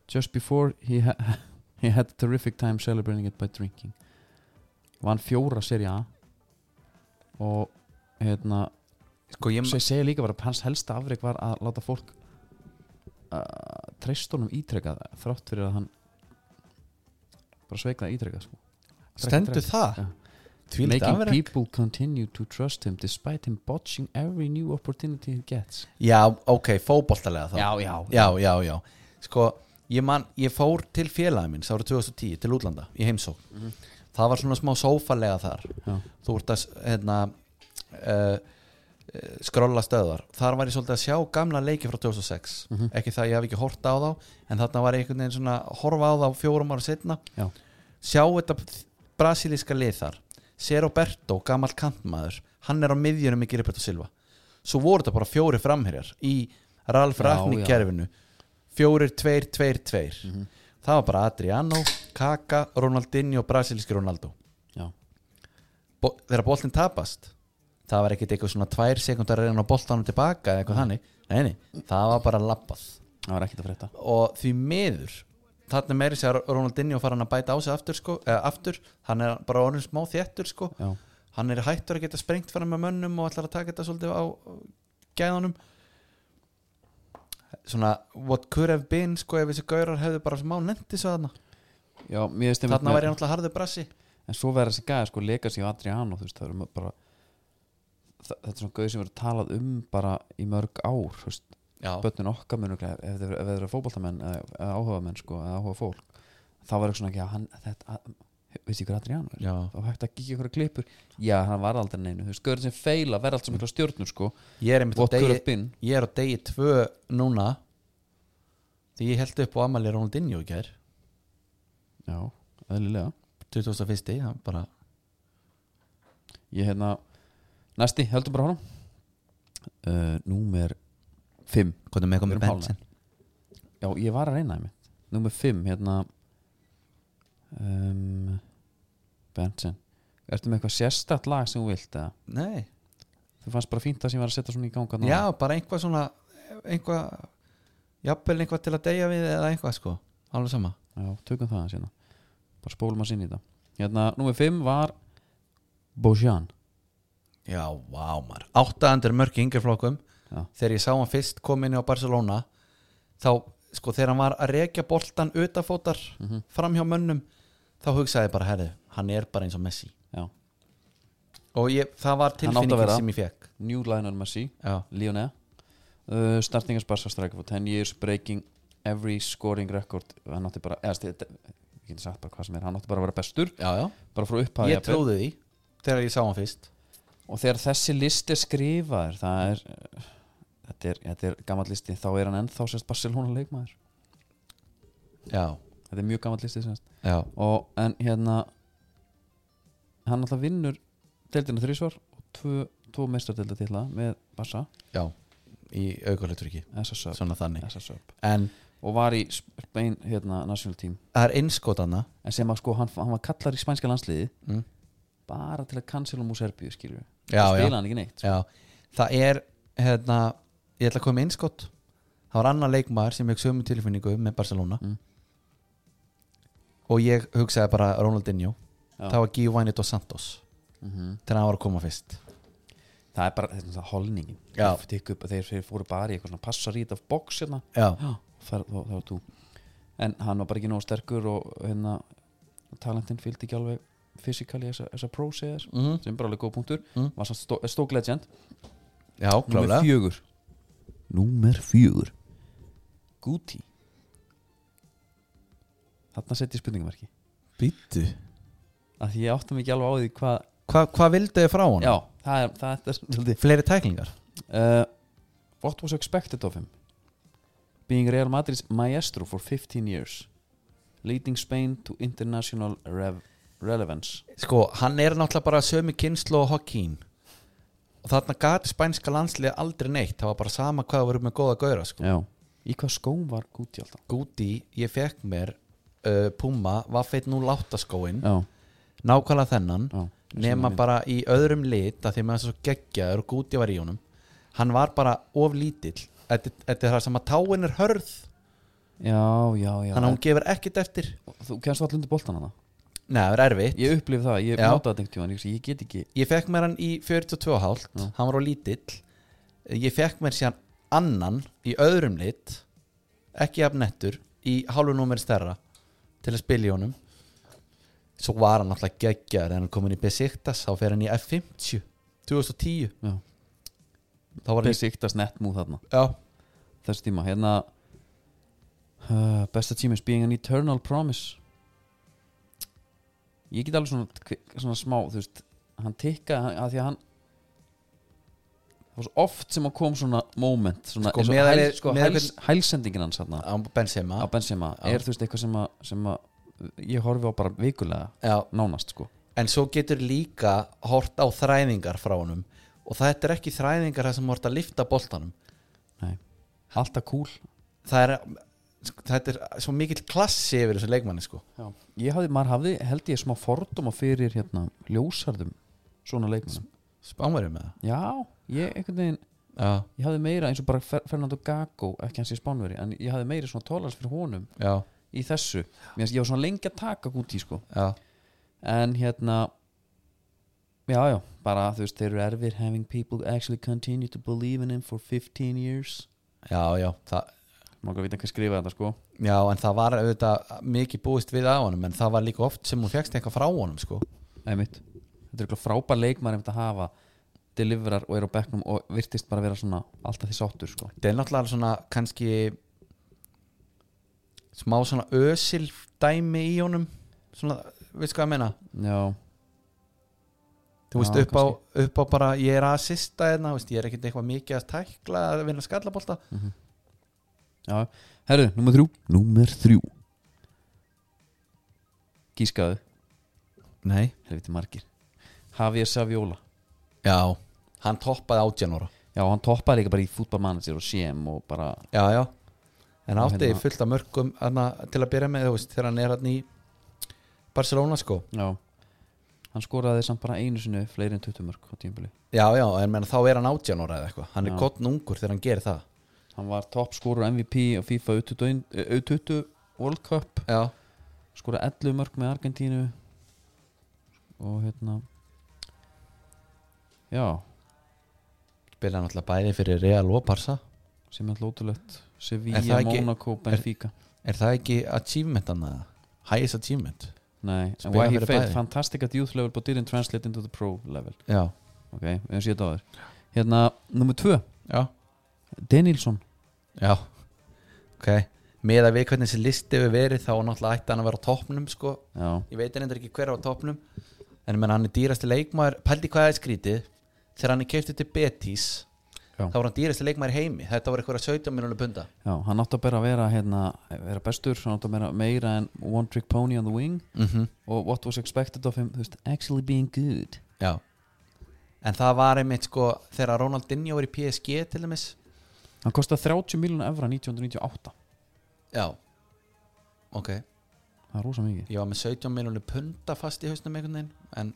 A: just before he, ha he had a terrific time celebrating it by drinking vann fjóra seri A og hérna
B: sko ég,
A: sem segja líka bara að hans helsta afreg var að láta fólk uh, treystunum ítrekkað þrátt fyrir að hann bara sveiknaði ítrekkað sko.
B: stendur það
A: Já.
B: Þvílíkt
A: making
B: afrek.
A: people continue to trust him despite him botching every new opportunity he gets
B: já, ok, fótboltalega þá
A: já,
B: já, já, já. sko, ég man, ég fór til félagin minn sára 2010 til útlanda í heimsókn það var svona smá sófalega þar
A: já.
B: þú ert að hérna, uh, skrolla stöðar þar var ég svolítið að sjá gamla leiki frá 2006
A: Mhm.
B: ekki það ég haf ekki hort á þá en þarna var ég einhvern veginn svona að horfa á þá fjórum ára setna
A: Já.
B: sjá þetta brasilíska lið þar Ser Roberto, gamall kantmaður hann er á miðjunum ekki Roberto Silva svo voru þetta bara fjóri framherjar í Ralf
A: Já,
B: Ragni
A: já. Mhm.
B: kerfinu fjórir, tveir, tveir, tveir það var bara Adriano, Kaka Ronaldinho og brasilíski Ronaldo
A: já.
B: Bo- þegar boltin tapast það var ekkit eitthvað svona tvær sekundar reyna á boltanum tilbaka eða eitthvað þannig nei, nei, það var bara labbað
A: það var ekkert að frétta
B: og því miður þarna meiri sér Ronaldinho fara hann að bæta á sig aftur, sko, eða, aftur. hann er bara orðin smá þéttur sko.
A: já.
B: hann er hættur að geta sprengt fram með mönnum og ætlar að taka þetta svolítið á gæðanum svona what could have been sko, ef þessi gaurar hefðu bara smá nendi svo þarna
A: Já, mér finnst einmitt
B: þarna
A: með-
B: væri hann alltaf harður brassi
A: En svo verður þessi gæði sko Legacy og Adriano þú veist, það eru bara það, þetta er svona gauð sem verður talað um bara í mörg ár þú veist,
B: já,
A: bönnun okkar munur ef ef þeir ef þeir eru fótboltamenn eða, eða áhuga menn sko, eða áhuga fólk þá verður svona ekki að hann þetta, að, veistu hvað Adriano er?
B: já,
A: þá var hægt að gíkja ykkur klippur já, hann var aldrei neinu, þú veist, gaurinn sem feila verða allt sem mikla stjórnur sko
B: ég er einmitt á
A: what could
B: degi
A: have been
B: ég er á degi tvö núna því ég held upp á Amalie Ronaldinho í gær
A: já, öðlilega
B: 2001, hann bara
A: ég hérna, næsti, heldur bara honum uh, númer 5
B: hvað er með eitthvað
A: Við
B: með
A: erum
B: Benson
A: já, ég var að reyna það mitt númer 5, hérna um, Benson ertu með eitthvað sérstætt lag sem þú vilt eða?
B: nei,
A: þú fannst bara fínt það sem ég var að setja svona í ganga þarna.
B: já, bara einhvað svona einhvað, jafnvel einhvað til að deyja við eða einhvað sko, alveg sama
A: já, tökum það hérna bara spólum að sinni í þetta hérna, númer 5 var Bojan
B: já, vá maður, 800 mörki yngjaflokkum,
A: Já.
B: þegar ég sá hann fyrst kom inn á Barcelona þá, sko, þegar hann var að rekja boltan utafótar fram hjá mönnum þá hugsaði ég bara, herðu, hann er bara eins og Messi
A: já,
B: og ég, það var
A: Hann átti að
B: tilfinningin
A: vera.
B: sem ég fekk
A: New Lionel Messi
B: já,
A: Lionel uh, starting as Barca striker for 10 years breaking every scoring record hann átti bara, eða stið, ég geti sagt bara hvað sem er hann átti bara að vera bestur,
B: já, já.
A: bara frá upphæði
B: ég trúði því þegar ég sá hann fyrst
A: og þegar þessi listi er skrifaður það er eh, þetta er, þetta er gammal listi, þá er hann ennþá sérst Barcelona leikmaður,
B: já,
A: þetta er mjög gammal listi sérst
B: já,
A: og en hérna hann alltaf vinnur deildina þrísvar og tvö, tvo meistardelda tilla með Barca,
B: já í aukarleiturki,
A: SSUB
B: svona þannig
A: SSUB
B: en
A: og var í Spain hérna national team
B: það er innskotana
A: en sem að sko hann, hann var kallar í spænska landsliði
B: mm.
A: bara til að cancela mús Serbíu skilur
B: já,
A: spila
B: já,
A: hann sko. ekki neitt
B: já, það er hérna, ég ætla að koma með innskot það var annar leikmaður sem ég sömu tilfinningu með Barcelona
A: Mm.
B: og ég hugsaði bara Ronaldinho,
A: Já.
B: það var Giovanni Dos Santos
A: mm
B: þegar hann var að koma fyrst
A: það er bara þetta er það holningin
B: Já.
A: Þeir tikka upp- þeir, þeir fóru bara í eitthvað svona passarít af box hérna
B: já,
A: það var þú en hann var bara ekki nóg sterkur og hérna talentin fylgdi ekki alveg fysikali þessa, þessa prósiðar
B: mm.
A: sem er bara alveg góð punktur
B: Mm.
A: var samt stó- stók legend
B: já
A: Númer
B: klálega
A: fjögur Númer fjögur Guti Þarna sett ég spurningamarki
B: Býttu
A: að því ég átti mig ekki alveg á því hvað
B: Hva, Hvað vildu þið frá hann?
A: já, það er, það er svolítið
B: Fleiri tæklingar
A: uh, What was expected of him? Being Real Madrid's maestro for 15 years Leading Spain to international rev relevance
B: Sko, hann er náttúrulega bara sömu kynslu og Hokkin Og þarna gat spænska landslið aldrei neitt Það var bara sama hvað að vera með góða gauðra sko.
A: Já Í hvað skóm var Guti alltaf?
B: Gúti, ég fekk mér uh, Puma, vaffeit nú láttaskóin
A: Já,
B: Nákvæmlega þennan
A: já
B: Nema bara í öðrum lit að Því með þess að svo geggjaður og Gúti var í honum Hann var bara of lítill Þetta þetta er það sem að táin er hörð
A: Já, já, já
B: Þannig að hún gefur ekkert eftir
A: Þú kennst allir undir boltan hana
B: Nei, það er erfitt
A: Ég upplif það, ég
B: Já.
A: notaði þetta einhvern tímann ég, ég get ekki
B: ég fekk mér hann í 42,5
A: Já.
B: hann var á lítill ég fekk mér síðan annan í öðrum lit ekki af nettur í hálfu númer stærra til að spila í honum svo var hann alltaf geggjar en hann kom inn í Besiktas þá fer hann í F50 2010
A: já,
B: þá var hann í,
A: besiktast netmú þarna
B: já,
A: þess tíma, hérna uh, best achievements being an eternal promise ég get alveg svona, kvi- svona smá, þú veist hann tikka, að því að hann það var svo oft sem að kom svona moment, svona
B: Sko,
A: eins og
B: meðal
A: hæl,
B: er-
A: sko,
B: meðal
A: hæls, hælsendingin hans þarna
B: á Benzema
A: á Benzema,
B: Já.
A: er þú veist eitthvað sem að, sem að ég horfi á bara vikulega
B: já,
A: nánast sko,
B: en svo getur líka hort á þræðingar frá honum og þetta er ekki þræðingar þar sem hort að lifta boltanum
A: nei alltaf cool
B: það er þetta er svo mikill klassi yfir þessu leikmanni sko
A: Já. Ég hafði, maður hafði, held ég, smá fordóma fyrir hérna ljósarðum svona leikmennum.
B: Spánverjum með
A: Já, ég einhvern veginn,
B: það Já,
A: ég hafði meira eins og bara Fer- Fernando Gago, ekki hans í Spánveri, en ég hafði meira svona tólars fyrir honum
B: já,
A: í þessu. Mér finnst, ég var svona lengi að taka gúti, sko.
B: já
A: En hérna, já, já, bara þú veist, þeir eru erfir having people actually continue to believe in him for 15 years.
B: Já, já, það,
A: Má ekki að vita hvað skrifaði þetta, sko.
B: já, en það var auðvitað mikið búist við á honum en það var líka oft sem hún fegst eitthvað frá honum sko
A: Einmitt. Þetta er eitthvað frábær leikmar einmitt að hafa, deliverar og er á bekknum og virtist bara vera svona alltaf því sáttur, sko.
B: Það er náttúrulega svona kannski smá svona ösil dæmi í honum svona veist hvað ég meina
A: já,
B: þú veist
A: Já,
B: upp á, upp á bara ég er að sista hérna, þú veist, ég er ekkert eitthvað mikið að tækla að vinna skallabólta
A: Mhm. já herru, númer þrjú númer þrjú gískaðu,
B: nei,
A: helviti margir Javier Saviola
B: já, hann toppaði átjánóra
A: já, hann toppaði líka bara í fútbolmanager og CM og bara,
B: já, já, en
A: Já,
B: átti
A: hérna.
B: fullt af mörgum hana, til að byrja með, þú veist, þegar hann er hann í Barcelona sko
A: já hann skoraði samt bara einu sinni fleiri en 20 mörg á tímbili
B: já, já, en menn, þá er hann átjánóra eða eitthvað hann
A: Já.
B: er gott ungur þegar hann gerir það
A: hann var topp skorur MVP á FIFA U21 eh, U20 World Cup
B: já,
A: skora 11 mörg með Argentínu og hérna já,
B: spilaði náttúrulega bæði fyrir Real og Barca
A: sem er lótulegt
B: Er
A: Sevilla,
B: það ekki-
A: Monaco, Benfica
B: er það ekki achievement hann að highest achievement
A: nei, and
B: Spila
A: why he
B: fyrir
A: failed
B: bæði.
A: fantastic at youth level but didn't translate into the pro level
B: já,
A: ok, við höfum séð á þér hérna, nummer 2,
B: já,
A: Danielsson
B: já ok, með að við hvernig þessi listi hefur verið þá náttúrulega ætti hann að vera á toppnum sko,
A: já,
B: ég veit endur ekki hver er á toppnum en menn hann er dýrasti leikmaður pældi hvað það er skrítið þegar hann er keiftið til Betis
A: Já.
B: þá var hann dýrasti leikmaður í heimi þetta var eitthvað 17 miljónu punda
A: já, hann átti að bara að vera hérna, vera bestur, hann átti að vera meira en one trick pony on the wing
B: mm
A: og what was expected of him, þú veist, actually being good
B: já en það var einmitt sko þegar Ronaldinho var í PSG til dæmis
A: hann kostaði 30 miljonar evra 1998
B: já ok,
A: það er rosa mikið
B: ég var með 17 miljónu punda fast í hausnum einhvern veginn en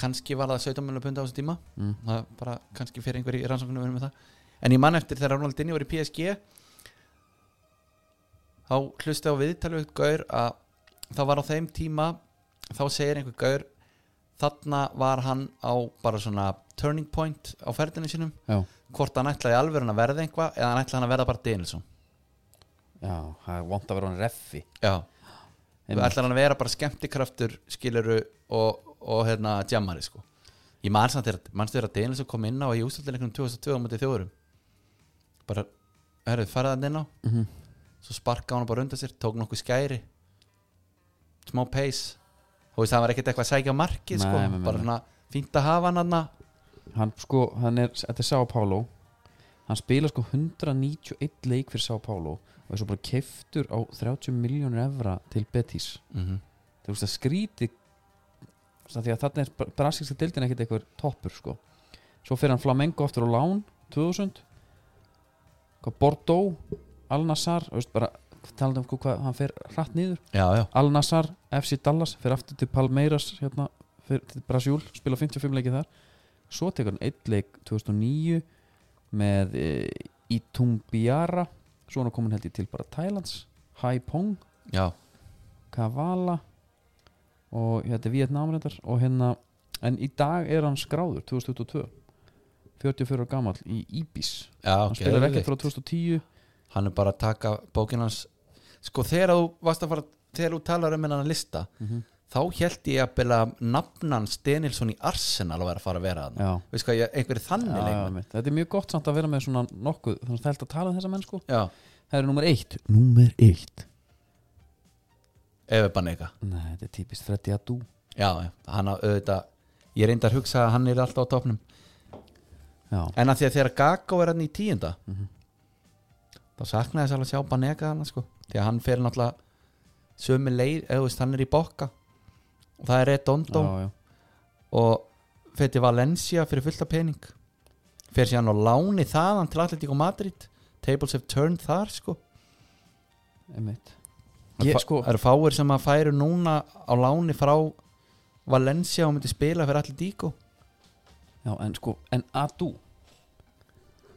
B: kannski var það 17 miljónu punda á þessu tíma
A: mm.
B: það bara kannski fyrir einhver í rannsóknum með það en ég man eftir þegar Ronaldinho var í PSG þá hlusti á viðtalið við Gaur að það var á þeim tíma þá segir einhver Gaur þarna var hann á bara svona turning point á ferðinu sínum
A: já,
B: hvort hann ætlaði alveg að verða einhvað eða hann ætlaði hann að verða bara Danielsson
A: já, það er vant að vera hann reffi
B: já,
A: Einmitt.
B: ætlaði hann að vera bara skemmtikraftur skiluru og, og hérna djamari sko ég man samt þegar, manstu þegar að Danielsson kom inn á í ústöldinleiknum 2002 á mútið þjóðurum bara, herru, farið hann inn á
A: Mhm.
B: svo sparkaði hann bara undan sér, tók nokkuð skæri smá pace þú veist, það var ekkert eitthvað að sækja á markið sko,
A: Nei, nei, nei,
B: bara
A: nei.
B: svona fínt að hafa hann hann
A: hann sko, hann er, þetta er Sao Paulo hann spila sko 191 leik fyrir Sao Paulo og er svo bara keftur á 30 miljónur evra til Betis þú veist að skríti því að þarna er brasilska deildin ekkert eitthvað toppur sko svo fyrir hann Flamengo aftur á lán 2000 hvað Bordeaux Al-Nassar, þú veist bara talandi um sko hvað hann fer hratt niður
B: já, já,
A: Al-Nassar, FC Dallas fyrir aftur til Palmeiras hérna, fyrir til Brasíl, spila 55 leikið þar svo tekur hann eitt leik 2009 með e, Itumbiara svo er hann komin held ég til bara Thailands Haipong,
B: já,
A: Kavala og þetta er Vietnamrindar og hérna, en í dag er hann skráður 2022 44 ára gamall í Ibis
B: já
A: hann spilar ekkert frá 2010
B: hann er bara að taka bókin hans sko þegar þú varst að fara þegar þú talar um hennan lista
A: Mhm.
B: þá held ég að byrja nafnan Stenilsson í Arsenal að vera að fara að vera hann
A: já,
B: veist hvað, ég- einhverju þannig
A: já,
B: leikmenn
A: einmitt. þetta er mjög gott samt að vera með svona nokkuð þannig að það held að tala um þessa menn sko
B: já,
A: Það eru nummer eitt Nummer eitt
B: ef er bara neka
A: Nei, þetta er típist Freddy Adu
B: já, já, hann að auðvitað ég reyndi að hugsa að hann er alltaf á topnum
A: Já,
B: en að því að þegar Gagó er hann í tíunda
A: Mhm.
B: þá saknaði þess alveg að sjá Banega hann sko, því að hann fer náttúrulega sömu leið, eða þú veist, hann er í bokka og það er Redondo
A: já, já
B: og fer til Valencia fyrir fullta pening fer síðan á láni þaðan til Atletico Madrid tables have turned þar sko
A: Einmitt
B: Það
A: Ég,
B: fa-
A: sko-
B: það eru fáir sem að færu núna á láni frá Valencia og myndi spila fyrir Atletico
A: Já, en sko En Adu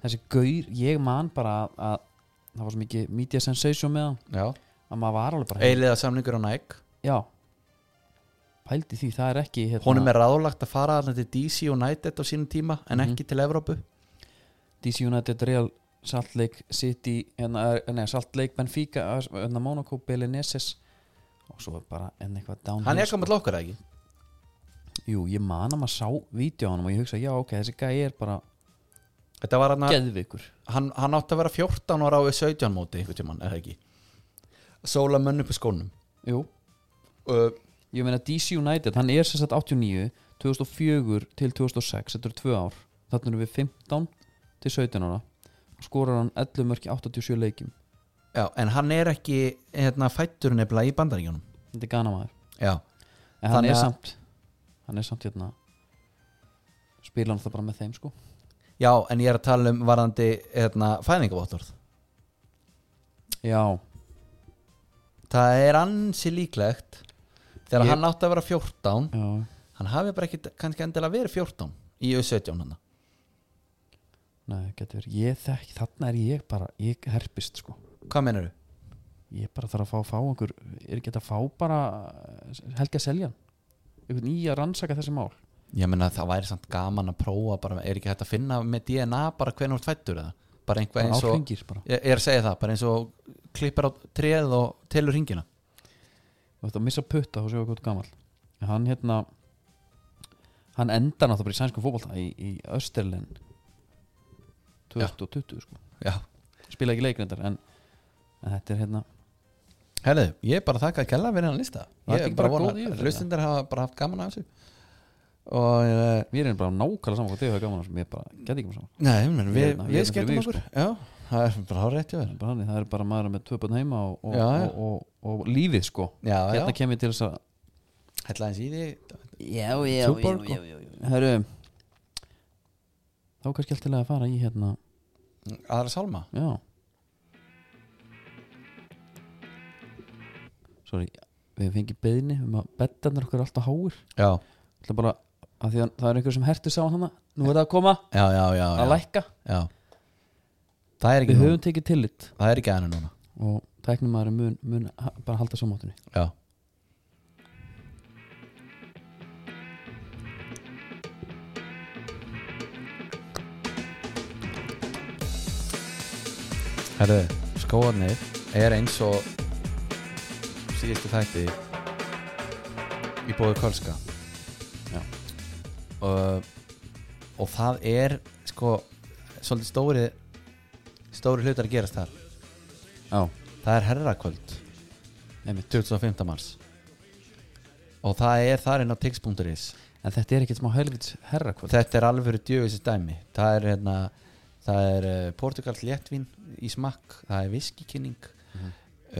A: Þessi gaur Ég man bara að, að Það var svo mikið media sensation með hann
B: já
A: Að maður var alveg bara
B: eiliða samlingur á Nike
A: Já Pældi því Það er ekki hérna,
B: honum er ráðlagt að fara þarna til DC United á sínum tíma en
A: Mhm.
B: ekki til Evrópu
A: DC United Real Salt Lake City hérna, eh, Nei, Salt Lake Benfica hérna, Monaco Beleneses Og svo er bara Enn eitthvað downhill
B: hann er
A: sko.
B: komið til okkar eða ekki
A: Jú, ég man að maður sá Vídeóanum og ég hugsa Já, ok, þessi gæi er bara
B: þetta var hann
A: Geðvikur
B: hann, hann átti að vera 14 ára á 17 móti einhvern tímann, er það ekki sóla mönn upp í skónum
A: Jú,
B: uh,
A: ég meina DC United, hann er sem sagt 89 2004 til 2006 þetta eru tvö ár, þarna erum við 15 til 17 ára skorar hann 11 mörki 87 leikjum
B: já, en hann er ekki hérna, fættur nefnilega í bandaríkjónum
A: þetta er gana maður,
B: já,
A: en hann er
B: Þannig að-
A: samt hann er samt hérna spila hann það bara með þeim sko
B: já, en ég er að tala um varðandi hérna, fæðingavottorð
A: já,
B: það er ansi líklegt þegar
A: Ég-
B: hann átti að vera 14
A: já,
B: hann hafi bara ekki kannski endilega verið 14 í U17 hann
A: nei, getur verið ég þekki, þarna er ég bara, ég herpist sko
B: hvað menur þú?
A: ég bara þarf að fá, fá einhver er ekki hægt að fá bara helga seljan einhvern í að rannsaka þessi mál
B: ég meina það væri samt gaman að prófa bara, er ekki hægt að finna með DNA bara hvernig þú ert fættur eða bara einhver eins og
A: áfengir bara
B: ég ég er að segja það, bara eins og klippar á treð og telur hringina
A: þú ætti að missa putta og sjá hvað þú ert gamall En hann hérna hann endar náttúrulega bara í sænskum fótbolta í, í Österlin 2020 sko
B: já,
A: spila ekki leikrindar en, en þetta er hérna
B: herðu, ég er bara þakka að kella verið hann lista
A: Var þetta
B: ég
A: ekki
B: er bara
A: bara
B: vona,
A: góð yfirferð, eða?
B: hlustindar hafa bara haft gaman af þessu og eh,
A: mér er bara nákvæmlega saman hvað þau hafa gaman af þessu, mér bara geti ekki með saman
B: nei, ég meina, við,
A: Ég er hérna-
B: við,
A: ég er hérna fyrir
B: skemmtum
A: við,
B: okkur já, það er bara hár rétt hjá þér
A: bara þannig, það er bara maður með tvö bönn heima og, og,
B: Já, já.
A: og, og, og, lífið sko
B: já,
A: hérna
B: já,
A: kem ég til þess að
B: hella eins í því
A: já, já,
B: Tuborg og-
A: já, já herru þá er kannski alltaf að fara í hérna
B: aðra sálma
A: Já Sorry, við fengið beðni um að beddarnir okkar er alltaf háir
B: já,
A: Það er bara að því að það er einhver sem hertu sá hana Nú er það að koma,
B: já, já, já,
A: að
B: já,
A: lækka
B: já. það er ekki
A: Við
B: núna
A: höfum tekið tillit
B: það er ekki að henni núna
A: og tæknum maður mun, mun ha- bara halda samáttunni
B: já Herðu, skóarnir er eins og síðustu þætti í bóðu Kolska
A: Já.
B: og, og það er sko svolítið stóri stóri hlutar að gerast þar
A: Já,
B: það er herrakvöld
A: einmitt
B: 25. mars og það er þar inn á tix.is
A: En þetta er ekkert smá helvits herrakvöld
B: þetta er alveg djöfis dæmi það er hérna það er uh, portugals léttvín í smakk það er viskikinning
A: Mhm.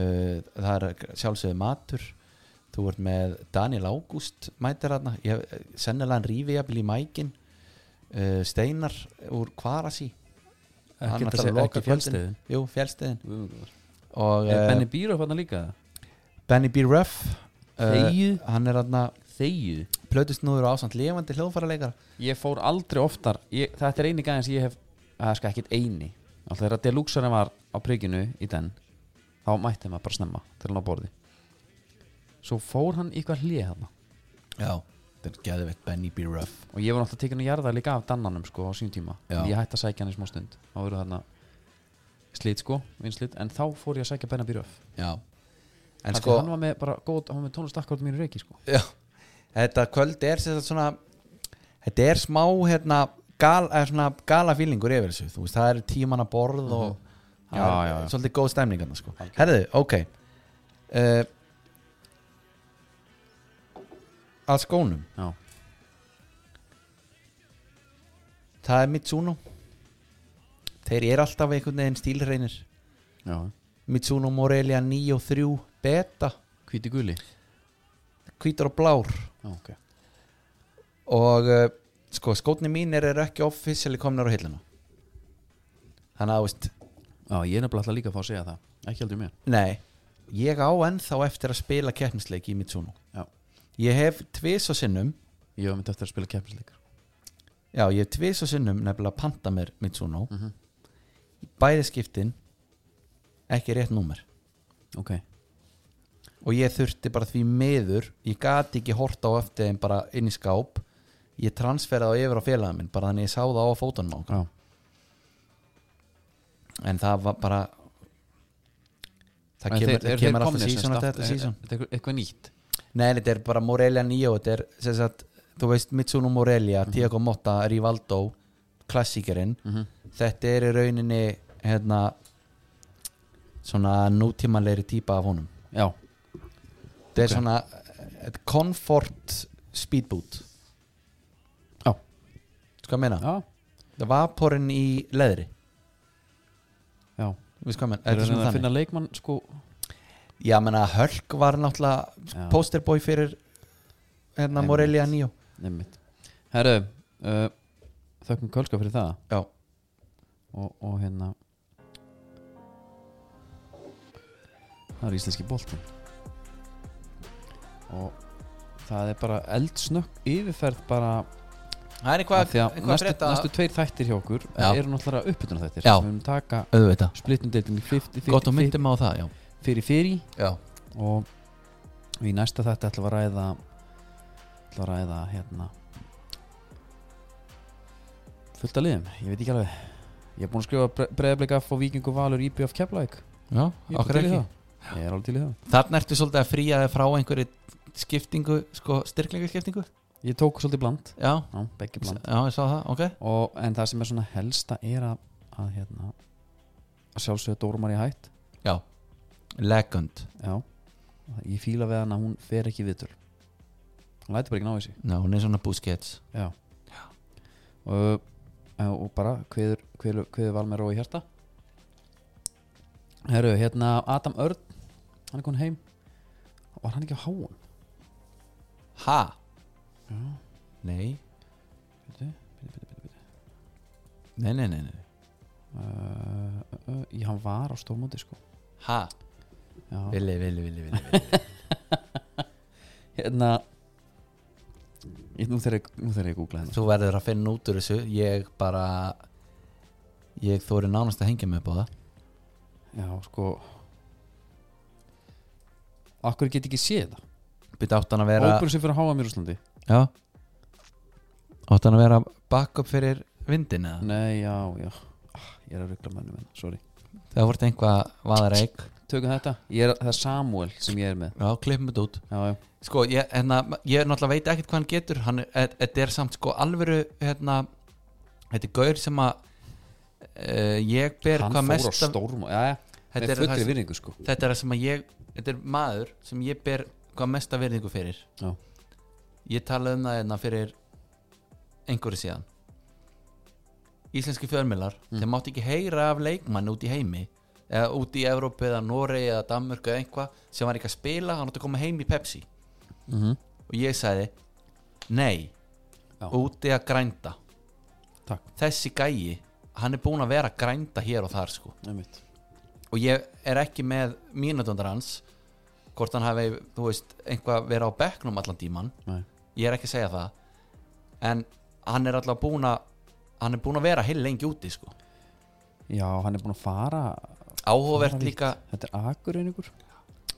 B: uh, það er sjálfsögðu matur þú ert með Daniel Ágúst mætir hérna, Ég- sennilega hann rífi jafnvel í mækin uh, Steinar úr Kvarasi hann
A: Ekki,
B: ætlar
A: þessi-
B: að loka
A: ekki fjallstæðin
B: jú, fjálstiðin og
A: Er
B: uh,
A: Benny Bíró fann að líka það?
B: Benny B. Ruff uh,
A: Þegið
B: hann er hérna
A: Þegið
B: plötusnúður og ásamt levandi hljóðfæra leikara
A: Ég fór aldrei oftar ég, Þetta er eini gæðin sem ég hef Það er sko ekkit eini Alltaf þegar Deluxarinn var á prikinu í den Þá mætti maður bara snemma til hann á borði Svo fór hann í eitthvað hlið hann
B: Já, þetta er geðveitt Benny B. Ruff
A: Og ég var náttúrulega tekinn að jarða líka af dannanum sko á sínum tíma
B: Já.
A: Ég hætti að sækja hann í smá stund Þá voru þarna slit sko, vinslit En þá fór ég að sækja Benna Bíröf
B: Já En
A: Þannig
B: sko,
A: hann var með bara góð Hann var með tónlist akkurat mínu reiki sko
B: já, þetta kvöld er sem sagt svona þetta er smá hérna gal, eða svona gala fílingur yfir þessu þú veist, það eru tímanna borð og
A: Já,
B: það er
A: já, já.
B: svolítið góð stemning hérna sko
A: Algjörlega.
B: Herðu, ok uh, að skónum
A: Já,
B: það er Mitsuno þeir eru alltaf einhvern veginn stílreinir
A: já
B: Mitsuno Morelia 9 og 3 beta,
A: Hvíti guli
B: hvítur og blár
A: Já, ok
B: og uh, sko skótni mínir eru ekki offisíali komnar á hilluna þannig að þú veist,
A: Já, ég er nefnilega alltaf líka að fá að segja það Ekki heldur mér
B: nei ég á ennþá eftir að spila keppnisleik í Mitsuno
A: Já.
B: ég hef tvis og sinnum
A: Ég var myndi eftir að spila kempisleikar
B: já, ég hef tvis og sinnum nefnilega panta mér Mitsuno
A: Mhm.
B: bæði skiptin ekki rétt númer
A: Ok,
B: og ég þurfti bara því meður ég gati ekki horta á eftir þeim bara inn í skáp ég transferaði á yfir á félagin minn bara þannig ég sá það á fótunum á okkur
A: já
B: en það var bara það
A: En
B: kemur,
A: þeir-
B: þeir,
A: eru
B: kemur
A: þeir
B: alltaf
A: komnir sem sagt
B: sísón eftir þetta
A: aftur-
B: sísón
A: er- er eitthvað- eitthvað nýtt
B: nei, þetta er bara Morelia 9 þetta er, sem sagt, þú veist, Mitsuno Morelia
A: Mhm.
B: Tiago Motta, Rivaldo klassíkerinn, þetta er í rauninni hérna svona nútímanleiri típa af honum
A: já,
B: þetta
A: Ok.
B: er svona, þetta er Comfort Speedboot
A: Já.
B: Þú hvað ég meina?
A: já,
B: Það vaporinn í leðri
A: já
B: Þú veist hvað ég meina?
A: er
B: Þetta er
A: það
B: svona
A: að
B: þannig
A: finna leikmann sko
B: Já, menna, Hölk var náttúrulega
A: já,
B: posterboy fyrir hérna
A: Einmitt.
B: Morelia 9
A: einmitt. herru uh, þökkum kölska fyrir það
B: Já.
A: og, og hérna það er íslenski boltinn og það er bara eldsnökk yfirferð bara
B: Það er
A: af því að næstu, næstu tveir þættir hjá okkur eh,
B: Já.
A: eru náttúrulega uppbytuna þættir
B: Já.
A: við höfum taka
B: auðvitað
A: splittundeltum í 50,
B: Gott og
A: 50,
B: myndum á það, já
A: 50 fyrir fyrir
B: Já,
A: og í næsta þetta ætlum við að ræða ætlum við að ræða hérna fullt að liðum, ég veit ekki alveg ég er búin að skrifa breyðablik af og vikingu valur íbjöf keflæk
B: já,
A: ég er
B: okkur
A: bara til í
B: ekki
A: það ég er alveg til í það
B: Þarna ertu svolítið að fríja þig frá einhverju skiptingu, sko, styrklingaskiptingu
A: ég tók svolítið bland,
B: Já,
A: já, begge bland
B: já, ég sá það, ok
A: og, en það sem er svona helsta er að, að hérna að sjálfsögðu Dórumar í hætt
B: Legend,
A: já, ég fíla við hann að hún fer ekki í viðtöl hún læti bara ekki ná þessi
B: já, hún er svona buskets
A: Já og, og bara hviður, hviður, hviður val með rói hjarta Herru, hérna Adam Örn hann er konið heim var hann ekki á háum?
B: Ha?
A: Já,
B: Nei,
A: byrju, byrju, byrju, byrju, byrju.
B: nei, nei, nei, nei.
A: Uh, uh, uh, já, hann var á stórmóti sko
B: Ha?
A: já.
B: Vili, vili, vili, vili, vili.
A: hérna ég, nú þegar ég, nú þegar ég googla hérna
B: Þú verður að finna út úr þessu Ég bara Ég þóri nánast að hengja mig upp á það
A: já, sko Akkur get ekki séð það
B: Býta átt hann að vera
A: Óbjörn sem fyrir að háa mér Úslandi
B: Já Átt hann að vera backup fyrir vindin eða
A: Nei, já, já Ah, Ég er að ruggla mönnum hérna, sorry
B: Það voru einhvað vaðareik
A: tökum þetta ég er, það er Samuel sem ég er með
B: Já, klippum þetta út
A: já, já.
B: Sko, ég, hérna, ég náttúrulega veit ekkert hvað hann getur hann, er- e- Þetta er samt sko alvöru hérna, Þetta er gaur sem að uh, Ég ber
A: hann
B: hvað
A: fór á
B: mest af-
A: stórm já, já.
B: þetta,
A: með
B: er það
A: fullri
B: sem,
A: virðingu sko
B: þetta er það sem að ég Þetta er maður sem ég ber hvað mesta virðingu fyrir
A: Já.
B: Ég talaði um það hérna fyrir einhverju síðan Íslenski fjörmilar
A: Mm.
B: þeir mátti ekki heyra af leikmann út í heimi eða út í Evrópu eða Noregi eða Danmörku eða einhvað sem var ekki að spila hann átti að koma heim í Pepsi
A: mm
B: Mhm.
A: -hmm.
B: og ég sagði nei,
A: Já.
B: úti að grænda
A: Takk.
B: þessi gæi, hann er búin að vera að grænda hér og þar sko
A: einmitt
B: og ég er ekki með mínutundar hans hvort hann hafi, þú veist, einhvað verið á bekknum allan tíman,
A: Nei.
B: ég er ekki að segja það en hann er alltaf búin að hann er búin að vera heil lengi úti sko.
A: já, hann er búin að fara
B: áhugavert
A: Fara vítt.
B: líka
A: þetta er akkur einingur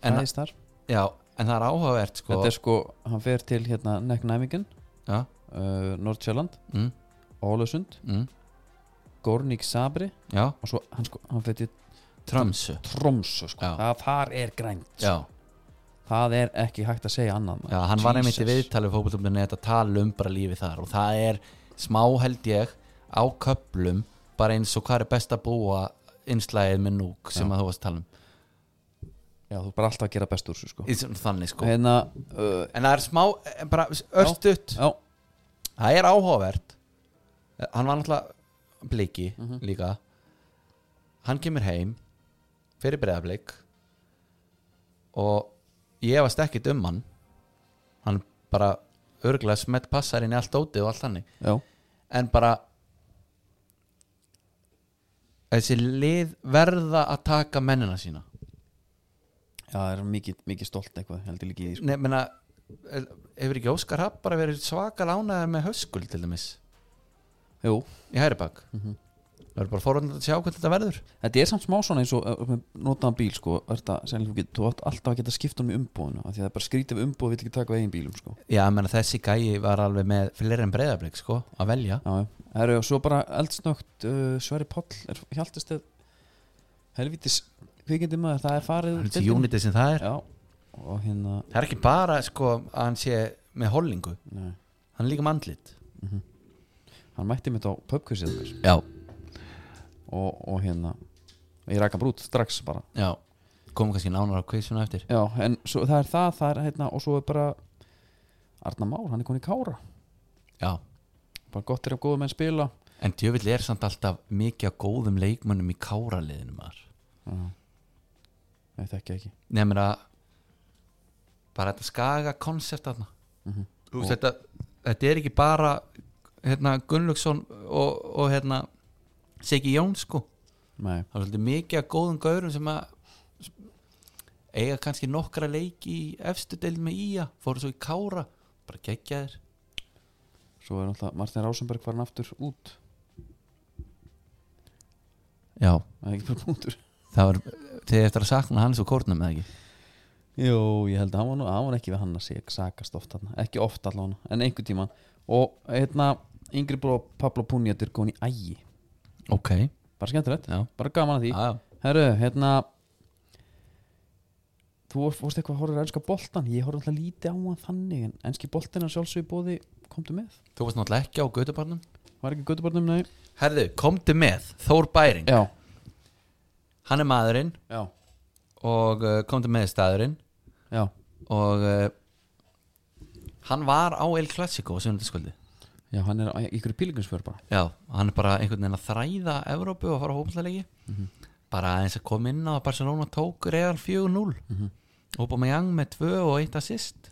B: en,
A: fæðist þar
B: já, en það er áhugavert sko.
A: þetta er sko hann fer til hérna Neck Næmingen
B: já,
A: uh, Nordsjælland
B: mm,
A: Ólesund
B: mm,
A: Gornik Sabri
B: já,
A: og svo hann sko hann fer til
B: trömsu
A: Tromsö sko
B: Já.
A: það þar er grænt
B: já,
A: það er ekki hægt að segja annað maður.
B: já, hann var einmitt í
A: Jesus.
B: viðtalið fókbaltöfninu að tala um bara lífi þar og það er smá held ég á köplum bara eins og hvað er best að búa einslæðið með núk sem
A: Já.
B: að þú varst að tala um
A: já, þú er bara alltaf að gera best úr þessu sko
B: Í svona þannig sko
A: hérna uh,
B: en það er smá, eh, bara örstutt
A: já,
B: það er áhugavert Eh, hann var náttúrulega bliki
A: Mhm.
B: líka hann kemur heim fyrir breyðablik og ég varst ekkit um hann hann bara örgulega smett passar inn í allt ótið og allt hannig
A: já,
B: en bara þessi lið verða að taka mennina sína
A: já, það er mikið, mikið stolt eitthvað heldur líkið í því, sko.
B: Nei, menna, eh, hefur ekki Óskar Happ bara verið svaka lánaðar með höskul til dæmis
A: sko jú,
B: í hæri bak
A: Mhm.
B: það er bara forhåndið að sjá hvernig þetta verður
A: Þetta er samt smá svona eins og uh, með notaðan bíl sko, er þetta, sem þú, get, þú átt alltaf að geta skipt um í umbúðinu af því að það er bara skrítið við umbúð við ekki taka við eigin bílum sko.
B: já, menna, þessi gæi var alveg með fleiri en breyðablik sko, að velja
A: Já, já. Það eru svo bara eldsnögt uh, Sverri Páll er hjáltist helvítis kvikindi maður það er farið úr
B: þessi
A: deildinni.
B: unitið sem það er
A: Já, og hérna
B: það er ekki bara sko, að hann sé með hollingu
A: nei,
B: hann er líka með andlit
A: hann mætti mitt á pubquizið mér
B: já,
A: og, og hérna ég rækka brút strax bara
B: já komum kannski nánar á kvissuna eftir
A: Já, en svo, það er það, það er hérna og svo er bara Arna Már, hann er komin í kára
B: já
A: bara gott er að góða menn spila
B: En djöfill er samt alltaf mikið að góðum leikmönnum í káraliðinu maður
A: Nei, þekki ekki
B: Nefnir að bara þetta skaga konsept þarna Þú veist þetta, þetta er ekki bara hérna Gunnlaugsson og, og hérna Siggi Jón sko
A: Nei,
B: Það er svolítið mikið að góðum gaurum sem að eiga kannski nokkra leik í efstu deil með íja fóru svo í kára, bara geggja þér
A: svo er alltaf Martin Rásenberg farin aftur út
B: Já,
A: Það er ekki bara punktur
B: það var þegar eftir að sakna hans og kórnum eða ekki
A: Jó, ég held að hann var, nú, hann var ekki við hann að segja sakast oft hann, ekki oft allan en einhver tíman og hérna yngri bróð Pablo Punjatur góðin í ægi
B: Ok,
A: bara skemmtilegt,
B: já,
A: bara gaman að því
B: já,
A: Herru, hérna Þú vorst- fórst eitthvað að horfa að ennska boltan Ég horfa alltaf lítið á hann þannig En ennski boltin að sjálfsögðu bóði komdu með
B: þú varst náttúrulega ekki á Gautabarnum
A: Var ekki göttubarnum, nei
B: Herðu, komdu með, Þór Bæring
A: Já,
B: Hann er maðurinn
A: já,
B: og uh, komdu með staðurinn
A: já,
B: og uh, hann var á El Clasico á sunnundaskvöldi
A: já Hann er á- í ykkur pílingunsför bara
B: Já, hann er bara einhvern veginn að þræða Evrópu og fara á hópmallegi bara aðeins að koma inn á að Barcelona tók Real 4-0 mm -hmm. og búið með Young með 2 og 1 assist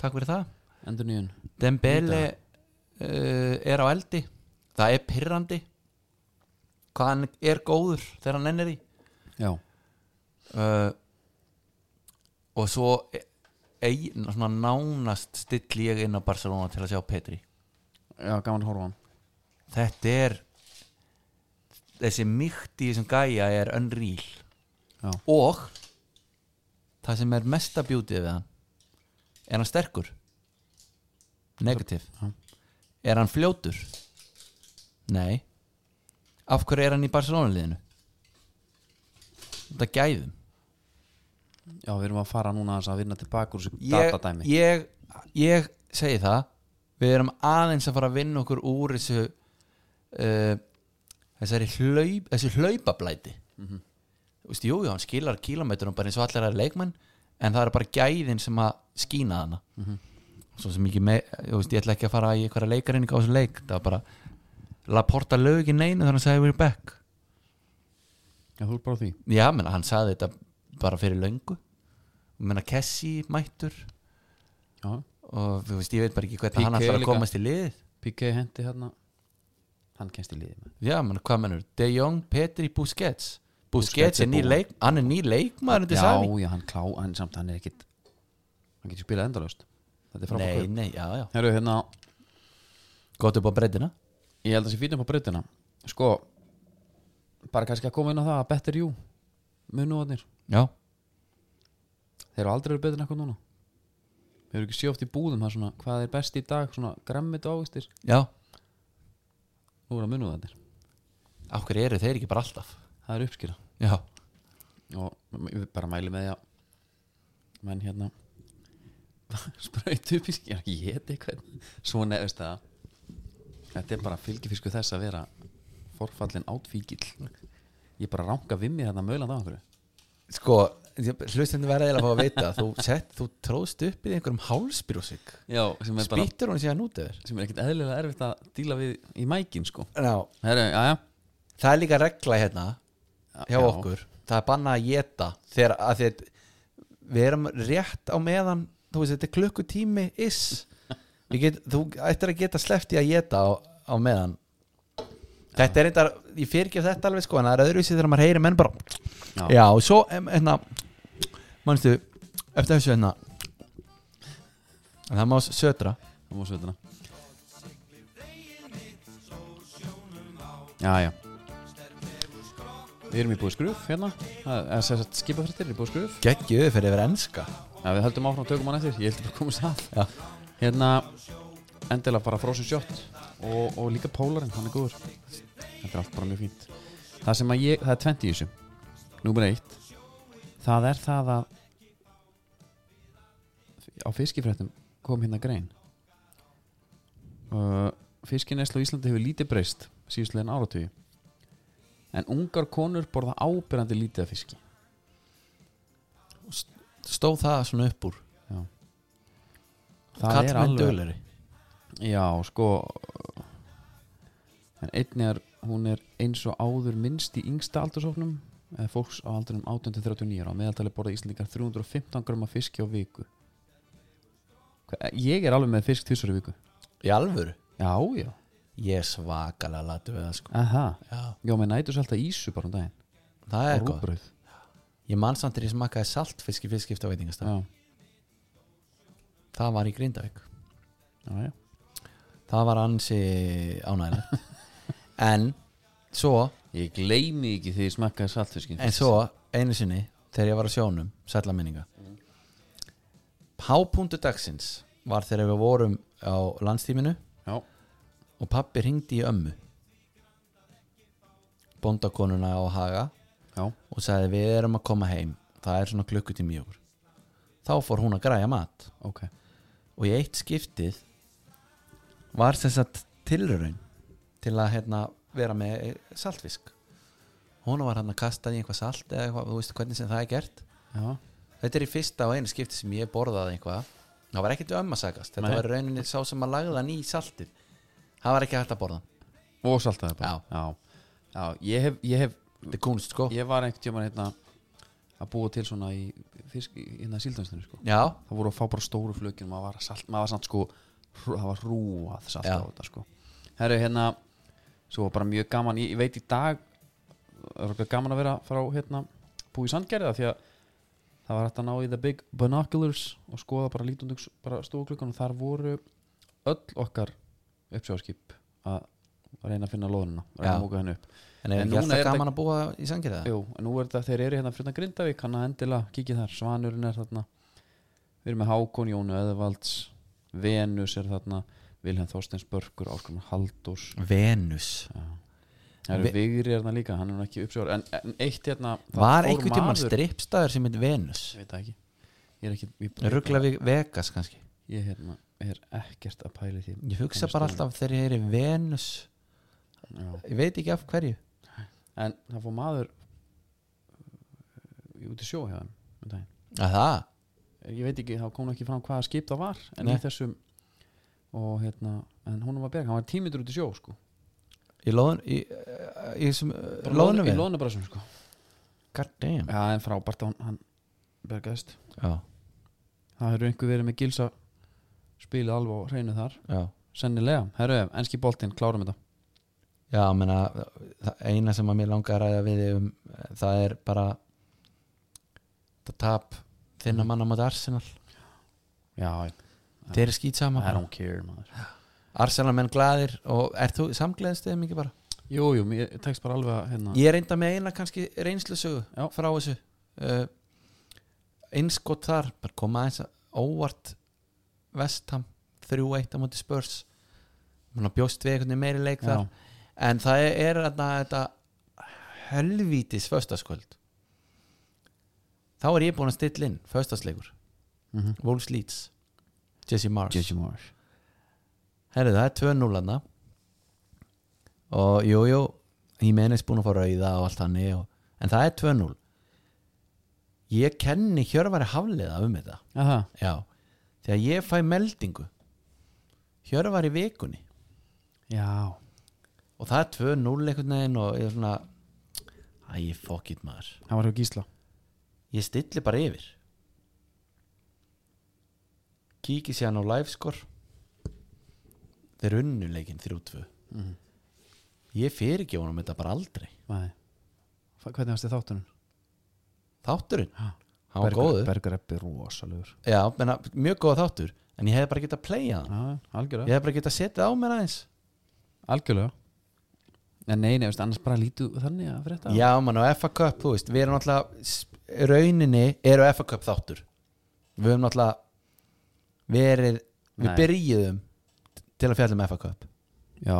B: Takk fyrir það
A: Endur nýjun
B: Dembele uh, er á eldi það er pirrandi hvað hann er góður þegar hann ennir í
A: Já,
B: uh, og svo e, e, svona nánast stilli ég inn á Barcelona til að sjá Petri
A: já, gaman að horfa á hann
B: þetta er þessi mýkt í þessum gæja er unreal
A: Já.
B: og það sem er mesta bjútið við hann er hann sterkur negativ
A: Já.
B: er hann fljótur nei af hverju er hann í Barcelona liðinu þetta gæðum
A: Já, við erum að fara núna aðeins að vinna tilbaka úr þessu
B: ég,
A: datadæmi
B: ég, ég segi það við erum aðeins að fara að vinna okkur úr þessu uh, þessari hlaup, þessu hlaupablæti mm veist, jú, jú, hann skilar kílometrum bara eins og allir að leikmenn en það er bara gæðin sem að skína hana svo sem ekki með, ég, veist, ég ætla ekki að fara í einhverja leikareininga á þessu leik það var bara Laporta lög ekki neinu þannig að segja we're back
A: Já, þú er bara á því
B: Já, menna, hann sagði þetta bara fyrir löngu menna, Kessi mættur
A: Já,
B: og þú veist, ég veit bara ekki hvernig
A: PK
B: hann ætlar að
A: líka.
B: komast í liðið
A: PK hendi hérna Hann kennst í liði með
B: já, menn, hvað mennur, De Jong, Petri, Busquets
A: Busquets
B: Busquets
A: er
B: er ný
A: búinn.
B: leik hann er ný leikmaður undir
A: Já,
B: Savi
A: já, hann klá, hann samt, hann er ekkit Hann getur spilað endalaust Þetta er frábæð
B: nei, nei, já, já,
A: Herru, hérna,
B: gott upp á breddina
A: Ég held að það sé fínum á breytina Sko Bara kannski að koma inn á það að better you Munúðanir,
B: já,
A: þeir eru aldrei verið betur en eitthvað núna Við erum ekki sjóft í búðum það er svona, Hvað er best í dag, svona grammit og ávistir
B: já
A: Nú eru að munúðanir,
B: af hverju eru þeir ekki bara alltaf
A: það er uppskýra
B: já,
A: Og ég bara mæli með því að Menn hérna Sprautu upp í skýra Ég heiti eitthvað Svona eða veist það Þetta er bara fylgifisku þess að vera Forfallin átfíkil Ég bara ranga við mig þarna mögulega það okkur
B: sko, hlustandi verða eða að fá að vita þú, sett, þú tróðst upp í einhverjum hálsbyrjósik
A: Já, sem er bara
B: spýttur hún síðan út yfir
A: sem er ekkert eðlilega erfitt að díla við í mækin sko
B: já,
A: Heru, já, já.
B: það er líka regla hérna
A: Já.
B: hjá okkur það er bannað að geta þegar að þeir, við erum rétt á meðan þú veist þetta er klukkutími is Ég get, þú ættir að geta sleppt í að geta á, á meðan þetta er einnig ég fyrir ekki þetta alveg sko en það er öðruvísi þegar maður heyri menn bara
A: Já.
B: já, og svo em, hérna mannstu eftir þessu hérna það má södra
A: það má sveituna já, já við erum í búið skruf hérna Það- eða sem sagt skipafrættir í búið skruf
B: geggjuðu fyrir yfir enska
A: já, við höldum áfram og tökum hann eftir, ég held bara að komast að
B: Já.
A: hérna endilega bara frozen shot og, og líka pólarinn, hann er góður þetta er allt bara mjög fínt það sem að ég, það er 20 í þessu númer eitt það er það að á fiskifrættum kom hérna grein uh, fiskineslu á Íslandi hefur lítið breyst síðustlegin áratugi en ungar konur borða ábyrjandi lítið af fiski
B: stóð það svona upp úr
A: Já. Það er
B: Kallmenn
A: alveg-
B: duglegri.
A: Já, sko En einni er hún er eins og áður minnst í yngsta aldursóknum eða fólks á aldrinum 18-39 ára. á meðaltali borða Íslandingar 315 gröma fiski á viku Hva- Ég er alveg með fisk tvisar í viku
B: Í alvöru?
A: Já, já,
B: Ég er svakalega latu við það sko
A: aha
B: Já,
A: Já, með nætur salta ísu bara um daginn
B: það er
A: Og
B: góð
A: rúgbrauð.
B: Ég man samt þegar ég smakkaði saltfisk í fiskskipta veitingastaf
A: Já,
B: Það var í Grindavík
A: já, já
B: Það var ansi ánægilegt En svo
A: Ég gleymi ekki því ég smakkaði saltfiskin
B: En svo einu sinni Þegar ég var á sjónum, sætla minninga Hápundu dagsins Var þegar við vorum á landstíminu
A: Já,
B: Og pappi hringdi í ömmu Bóndakonuna á Haga
A: já,
B: Og sagði við erum að koma heim Það er svona klukkutími í okkur Þá fór hún að græja mat
A: ok
B: og í eitt skiptið var þess að tilraun til að hérna, vera með eh, saltfisk hún var hann að kasta í eitthvað salt eða eitthvað, þú veist hvernig sem það er gert
A: Já,
B: þetta er í fyrsta og einu skipti sem ég borðaði eitthvað það var ekkert um að sagast þetta
A: Nei.
B: var í rauninni sá sem að lagða hann í saltið það var ekki hægt að borða
A: og saltaði bara Já, já, ég hef, ég hef
B: þetta er kunst sko
A: ég var einhvern tímann hérna að búa til svona í fisk, hérna síldanstunni sko.
B: já,
A: það voru að fá bara stóru flökin maður var, salt, maður var samt sko hrú- það var hrúað salt
B: Já.
A: á þetta sko herru hérna svo var bara mjög gaman ég, ég veit í dag það er örugglega gaman að vera frá hérna búið í sandgerða því að það var hægt að ná í the big binoculars og skoða bara lítundum bara stóklukkan og þar voru öll okkar uppsjáðskip að reyna að finna lóðuna reyna
B: Já.
A: að móka henni upp
B: en er
A: En
B: ekki
A: núna
B: alltaf
A: er
B: gaman að búa í sangir það
A: Jú, en nú er þetta, þeir eru hérna fyrir Grindavík, hann að endilega kikið þar, Svanurinn er þarna við erum með Hákon, Jónu Eðvalds Venus er þarna Vilhelm Þorsteins Börkur, Áskrumar Haldurs
B: Venus
A: það eru
B: Ve-
A: Vigri er þarna líka, hann er nú ekki uppsjóður en, en eitt hérna, það
B: var
A: fór
B: einhvern tímann
A: maður-
B: strippstæður sem heit Venus
A: Ég veit það ekki, ég er ekki ég,
B: ruggla við Vegas kannski
A: ég hérna, er ekkert að pæli því
B: Ég hugsa bara alltaf þegar ég heyri Venus
A: Já.
B: Ég veit ekki af hverju
A: en það fór maður uh, út í sjó hjá þeim um daginn.
B: að Það?
A: ég veit ekki, þá kom nú ekki fram hvaða skip það var en
B: Nei.
A: í þessum og hérna, en hún var berg, hann var tímitur út í sjó sko,
B: Í lóðun Í, í, sem,
A: Bara
B: lóðunum
A: í
B: við?
A: loðnubrasum sko
B: God damn
A: já, en frábært, að hún, hann bergaðist
B: Já,
A: það hefur einhver verið með gilsa spilið alveg á hreinu þar,
B: já
A: sennilega herru, enski boltinn, klárum þetta
B: Já, menna, það eina sem að mér langar að ræða við þig um eh, það er bara það tap þinna manna mát Arsenal
A: já,
B: Þeir eru skýt sama
A: I don't care maður.
B: Arsenal menn glæðir og er þú samgleðist þeim ekki bara?
A: jú, jú, mér tekst bara alveg að, hérna,
B: Ég er reynda með eina kannski reynslusögu
A: Já.
B: frá þessu uh, einskott þar bara koma aðeins að óvart vestam 3-1 á móti spörs Muna bjóst við einhvern veginn meiri leik þar
A: já,
B: en það er, er þetta, þetta helvítis föstaskvöld þá er ég búinn að stilla inn föstasleikur,
A: mhm.
B: Wolves Leeds Jesse Mars
A: J.J. Moore
B: Herri, það er 2-0 hana og jú, jú Jimenez búin að fá rauða og allt hann og, en það er 2-0 ég kenni Hjörvari Hafliða um þetta
A: aha,
B: já, þegar ég fæ meldingu Hjörvari vikunni
A: já,
B: og það er 2-0 einhvern veginn og ég er svona æ, ég fuck it maður
A: hann var hjá Gísla
B: ég stilli bara yfir kíki sér á livescore þeir unnuleikin 3-2
A: Mhm.
B: ég fyrir ekki honum þetta bara aldrei
A: Nei. Fa- hvernig varst þið þáttunum?
B: þátturinn,
A: Ha,
B: hann var
A: Berger-
B: góður
A: Berger eppi rosalegur
B: já, menna, mjög góða þáttur en ég hefði bara getað að playa hann
A: Já,
B: ég
A: algjörlega
B: hefði bara getað að setja á mér aðeins
A: Algjörlega En nei, nei, veist, annars bara lítu þannig að frétta
B: já, mann á FA Cup, þú veist við erum náttúrulega, s- rauninni eru FA Cup þáttur við erum náttúrulega verið, við
A: Nei.
B: byrjuðum til að fjalla um FA Cup
A: Já,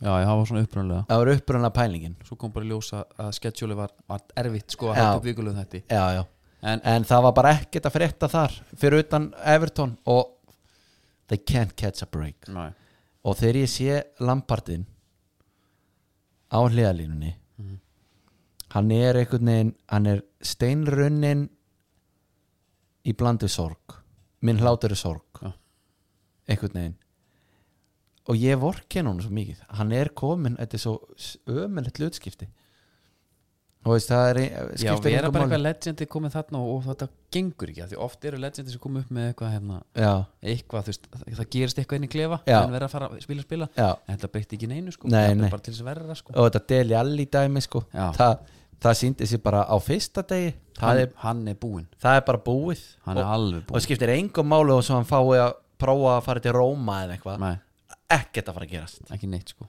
A: já, ég hafa svona upprunlega
B: það var upprunna pælingin
A: Svo kom bara í ljós að- að sketsjóli var, var erfitt sko að
B: Já.
A: hætta upp vikulegum þetta
B: já, já.
A: En
B: en það var bara ekkert að frétta þar fyrir utan Everton og they can't catch a break
A: nei.
B: og þegar ég sé Lampardin á hliðalínunni
A: Mhm.
B: hann er einhvern veginn hann er steinrunnin í blandu sorg minn hlátur er sorg
A: Já.
B: einhvern veginn og ég vorken hún svo mikið hann er komin, þetta er svo ömulegt hlutskipti og veist, það er
A: Já,
B: skiptir
A: við
B: engu
A: erum bara
B: máli.
A: eitthvað legendi komið þarna og, og þetta gengur ekki af því oft eru legendi sem komið upp með eitthvað hérna,
B: já,
A: eitthvað, þú veist, það, það gerist eitthvað inn í klefa
B: Já.
A: en verða að fara að spila spila
B: já,
A: en þetta breytti ekki neinu sko
B: Nei,
A: þetta er
B: nei.
A: bara til þess að verða sko
B: og þetta deli allir dæmi sko,
A: Já.
B: það, það síndi sér bara á fyrsta degi, það,
A: hann,
B: er,
A: hann er búinn,
B: það er bara búið
A: hann
B: og,
A: er alveg
B: og það
A: búinn
B: skiptir engum máli og svo hann fái að prófa að fara til Róma eða eitthvað,
A: Nei,
B: ekkert að fara að gerast
A: ekki neitt sko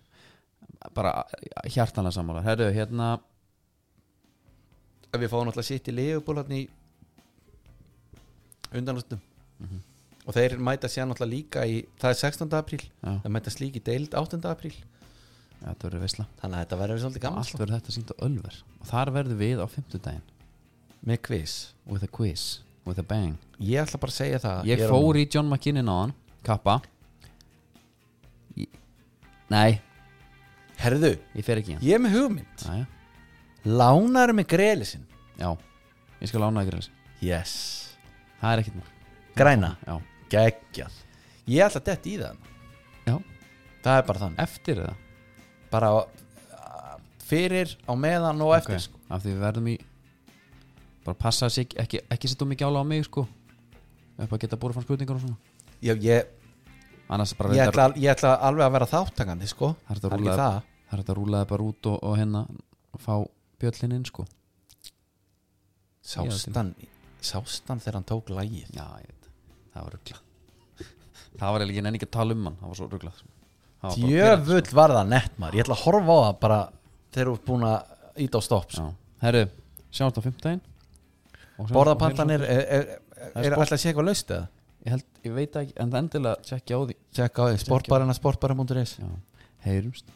A: bara hjartanlega sammála herru, hérna,
B: við fáum alltaf sitt í Leopold hann í undanlustum
A: Mhm.
B: og þeir mæta sér náttúrulega líka í það er 16. apríl,
A: já,
B: það mætast líka í deild 8. apríl,
A: já þetta verður veisla
B: þannig að þetta verður svolítið gaman
A: allt
B: sko.
A: verður þetta sínt á Ölver og þar verður við á fimmtudaginn
B: með quiz,
A: with a quiz, with a bang
B: ég ætla bara að segja það
A: ég
B: er
A: fór í John McKinnon á hann kappa ég, nei,
B: á- herðu,
A: ég fer ekki í hann
B: ég er með hugmynd
A: Jæja,
B: lánar með grelisinn
A: já, ég skal lána ykkur þessu
B: yes,
A: það er ekkert mál,
B: græna,
A: já,
B: geggjað ég ætla að detta í það
A: já,
B: það er bara þannig,
A: eftir eða
B: bara uh, fyrir, á meðan og eftir
A: Ok,
B: sko.
A: af því við verðum í bara passa sig ekki, ekki, ekki setja mikið ála á mig sko upp að geta búið fann skutningar og svona
B: ég, ég,
A: annars bara
B: ég,
A: reyndar-
B: ætla, ég ætla alveg að vera þáttakandi sko.
A: Það er þetta
B: það er
A: rúlla-
B: ekki það
A: það er þetta að rúlaði bara út og, og hérna og fá bjöllin inn sko
B: sástan,
A: um-
B: sástan þegar hann tók lægið
A: já, ég veit, það var ruggla það var eiginlega ekki nenni ekki að tala um hann það var svo ruggla sko.
B: djöfull var það nett maður ég ætla að horfa á það bara þegar þú ert búin að íta á stopp sko.
A: já, herru, sjáumst á 15
B: borðapantanir er, er, er,
A: Það er
B: er
A: sport-
B: alltaf að sé eitthvað laust eða
A: ég held, ég veit ekki, en það endilega tjekkja á því
B: tjekka á því, sportbarina sportbarina.is
A: já, heyrumst